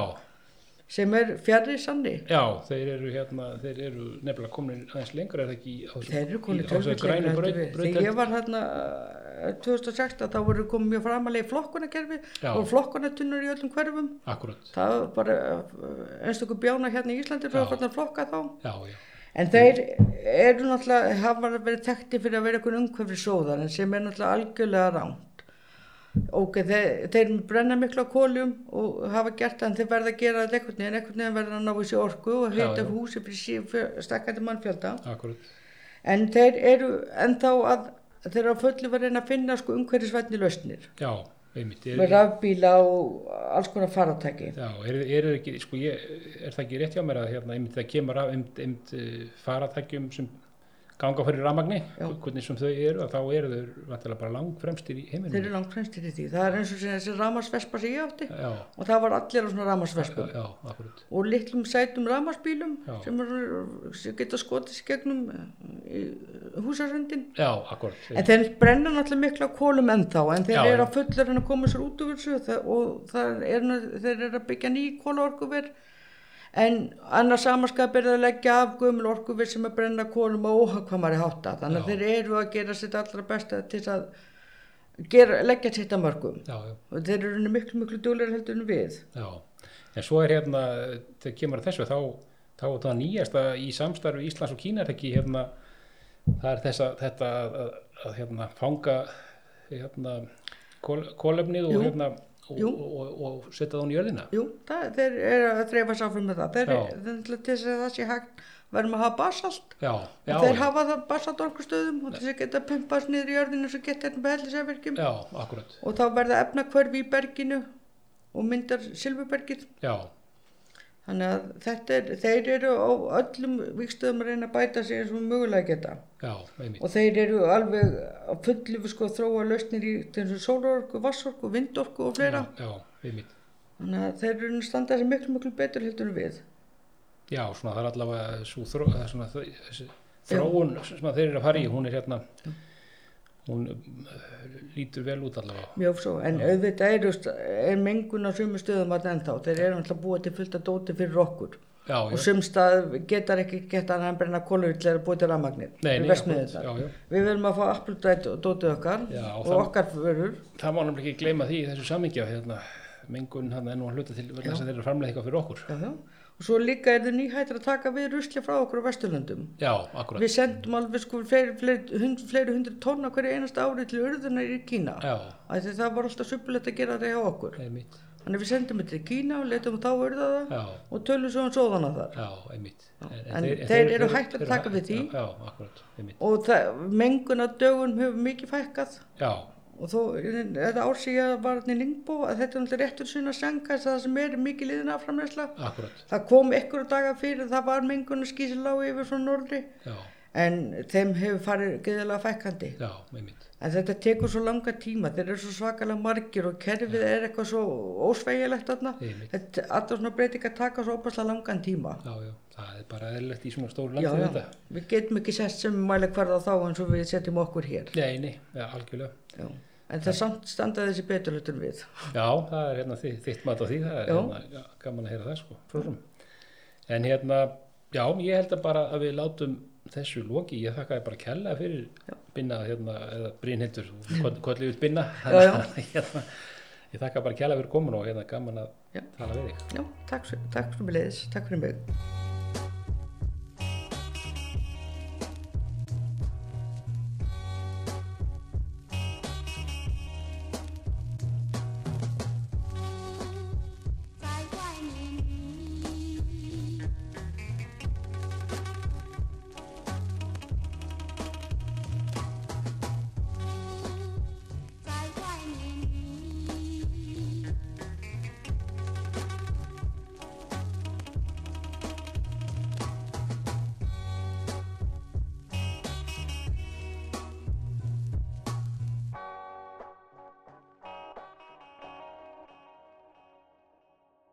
sem er fjarrir sanni já, þeir eru hérna, þeir eru nefnilega komin aðeins lengra, er það ekki? í- á þessu- Þeir eru í- konið á þessu grænu braut- Þegar brautarhelgi? ég var hérna eh, 2016 þá voru komið mjög framalega í flokkunarkerfi Já. og flokkunartunnur í öllum hverfum. Akkurat, Það var bara eh, einstaklega bjána hérna í Íslandi Já. fyrir að fara að flokka þá. já, já, En þeir eru náttúrulega, hafa verið tekti fyrir að vera einhvern umhverfið sóðar en sem er náttúrulega algjörlega ránt. Ok, þeir, þeir brenna miklu á kóljum og hafa gert það en þeir verða að gera þetta einhvern veginn, einhvern veginn verða að ná þessi orku og Já, heita já. húsi fyrir, sí- fyrir stakkandi mannfjölda. akkurat, En þeir eru ennþá að þeir eru að fullu verið að finna sko umhverfisvætni lausnir já, einmitt. Er, með rafbíla og alls konar faratæki. já, er, er, ekki, sko, ég, er það ekki rétt hjá mér að hérna, einmitt það kemur af einmitt, einmitt eh, faratækjum sem ganga fyrir ramagni, Já. hvernig sem þau eru, að þá eru þau vantilega bara langfremstir í heiminum. Þeir eru langt fremstir í því. Það er eins og sem þessi ramarsvespa sem ég átti Já, og það var allir á svona já, ramarsvespum já, akkurat, og litlum sætum ramarsbílum Já. sem, eru- sem geta skotist gegnum eh, í húsaröndin. já, akkurat, En einmitt, þeir brenna náttúrulega miklu á kólum ennþá en þeir Já, eru já. að fullur en að koma sér út úr þessu það- og það er, nú- þeir eru að byggja ný kólaorkuver en annars samanskap er það að leggja af gömul orkuver sem er brenna kólum á óhagkvamari hátta þannig að Já. þeir eru að gera sitt allra besta til að gera, leggja sitt að mörgum já, já. og þeir eru nú miklu miklu dúlar heldur en við Já, en svo er hérna, þegar kemur að þessu, þá, þá er það nýjasta í samstarfi Íslands og Kína er ekki hérna, það er þessa, þetta að, að, að hérna, fanga hérna, kól, kólefnið og Jú. hérna, og, Jú. og, og, og setja það hún í jörðina? Jú, það, þeir eru að þreifa sáfram með það. Þeir, Já. þeir ætla til þess að það sé hægt verðum að hafa basalt. Já, já, þeir já, hafa það basalt á einhver stöðum og til þess að geta pumpast niður í jörðinu svo geta hérna með hellisæverkjum. já, akkurat, Og þá verða efnakvörfi í berginu og myndar silfurbergið. já, Þannig að þetta er, þeir eru á öllum vikstöðum að reyna að bæta sig eins og mögulega geta. já, einmitt, Og þeir eru alveg á fullu við sko að þróa lausnir í til þess að sólarorku, vassorku, vindorku og fleira. já, já, einmitt. Þannig að þeir eru að standa þessi miklu, miklu betur heldur en við. Já, svona það er allavega svo þró, það er svona, þ- þessi þróun sem að þeir eru að fara í, hún er hérna, hún eh, lítur vel út allavega. Mjög svo, en auðvitað eru, st- er mengun á sumu stöðum að ennþá. Þeir eru alltaf búið til fullt af dóti fyrir okkur. Já, Og já, sum stað getar ekki geta annað en brenna kóluvill eða búið til rafmagnir. Nei, nei, við akkurat, vestmiðurnar. já, já. Við verum að fá appldrætt dótið okkar Já, og og það- okkar vörur. það má nefnilega ekki gleyma því í þessu samingja, hérna, mengun hann enn og hluta til vegna þess að þeir eru að framlega eitthvað fyrir okkur. Já, já. Og svo líka er þau nýhættir að taka við rusli frá okkur á Vesturlöndum. Já, akkurat, Við sendum alveg sko fleiri, fleiri, hund, fleiri hundru tonna hverju einasta ári til urðunar í Kína. já, Af því Það var alltaf suppulegt að gera það hjá okkur. einmitt, Þannig við sendum þetta í Kína og letum þá urða það já, og tölum svo um sóðana þar. já, einmitt. en þeir eru hægt að þeir taka hæ- við Já, því. já, akkurat, einmitt, og það, mengun af dögum hefur mikið fækkað já, og þó, þetta ársíða var hann í Lingbó að þetta er náttúrulega réttur sinna sanga það sem er mikið liðin af framleysla akkurat, það kom einhverju daga fyrir það var mengun að skýsa lági yfir frá norðri já, en þeim hefur farið geðilega fækkandi já, einmitt, en þetta tekur svo langa tíma þeir eru svo svakalega margir og kerfið er eitthvað svo ósveigilegt þarna Einmitt. þetta, alltaf svona breytingar taka svo opaslega langan tíma já, já, það er bara eðlilegt í svona stóru já, landi já, þetta. við getum ekki sett sem mæli hverða þá eins og við setjum okkur hér Nei, nei, ja, algjörlega. Já, en það samt standa þessi beturlutur við. Já, það er hérna þi- þitt mat á því, það er Já. hérna, já, gaman að heyra það sko, frórum. En hérna, já, ég held að bara að við látum þessu loki, ég þakkaði bara kella fyrir binna, hérna, eða brínhildur, hvað lífið binna, Já, já. að, hérna, ég þakka bara kella fyrir komin og hérna gaman að Já. tala við þig. Já, takk, svo- takk fyrir mig leiðis, takk fyrir mig.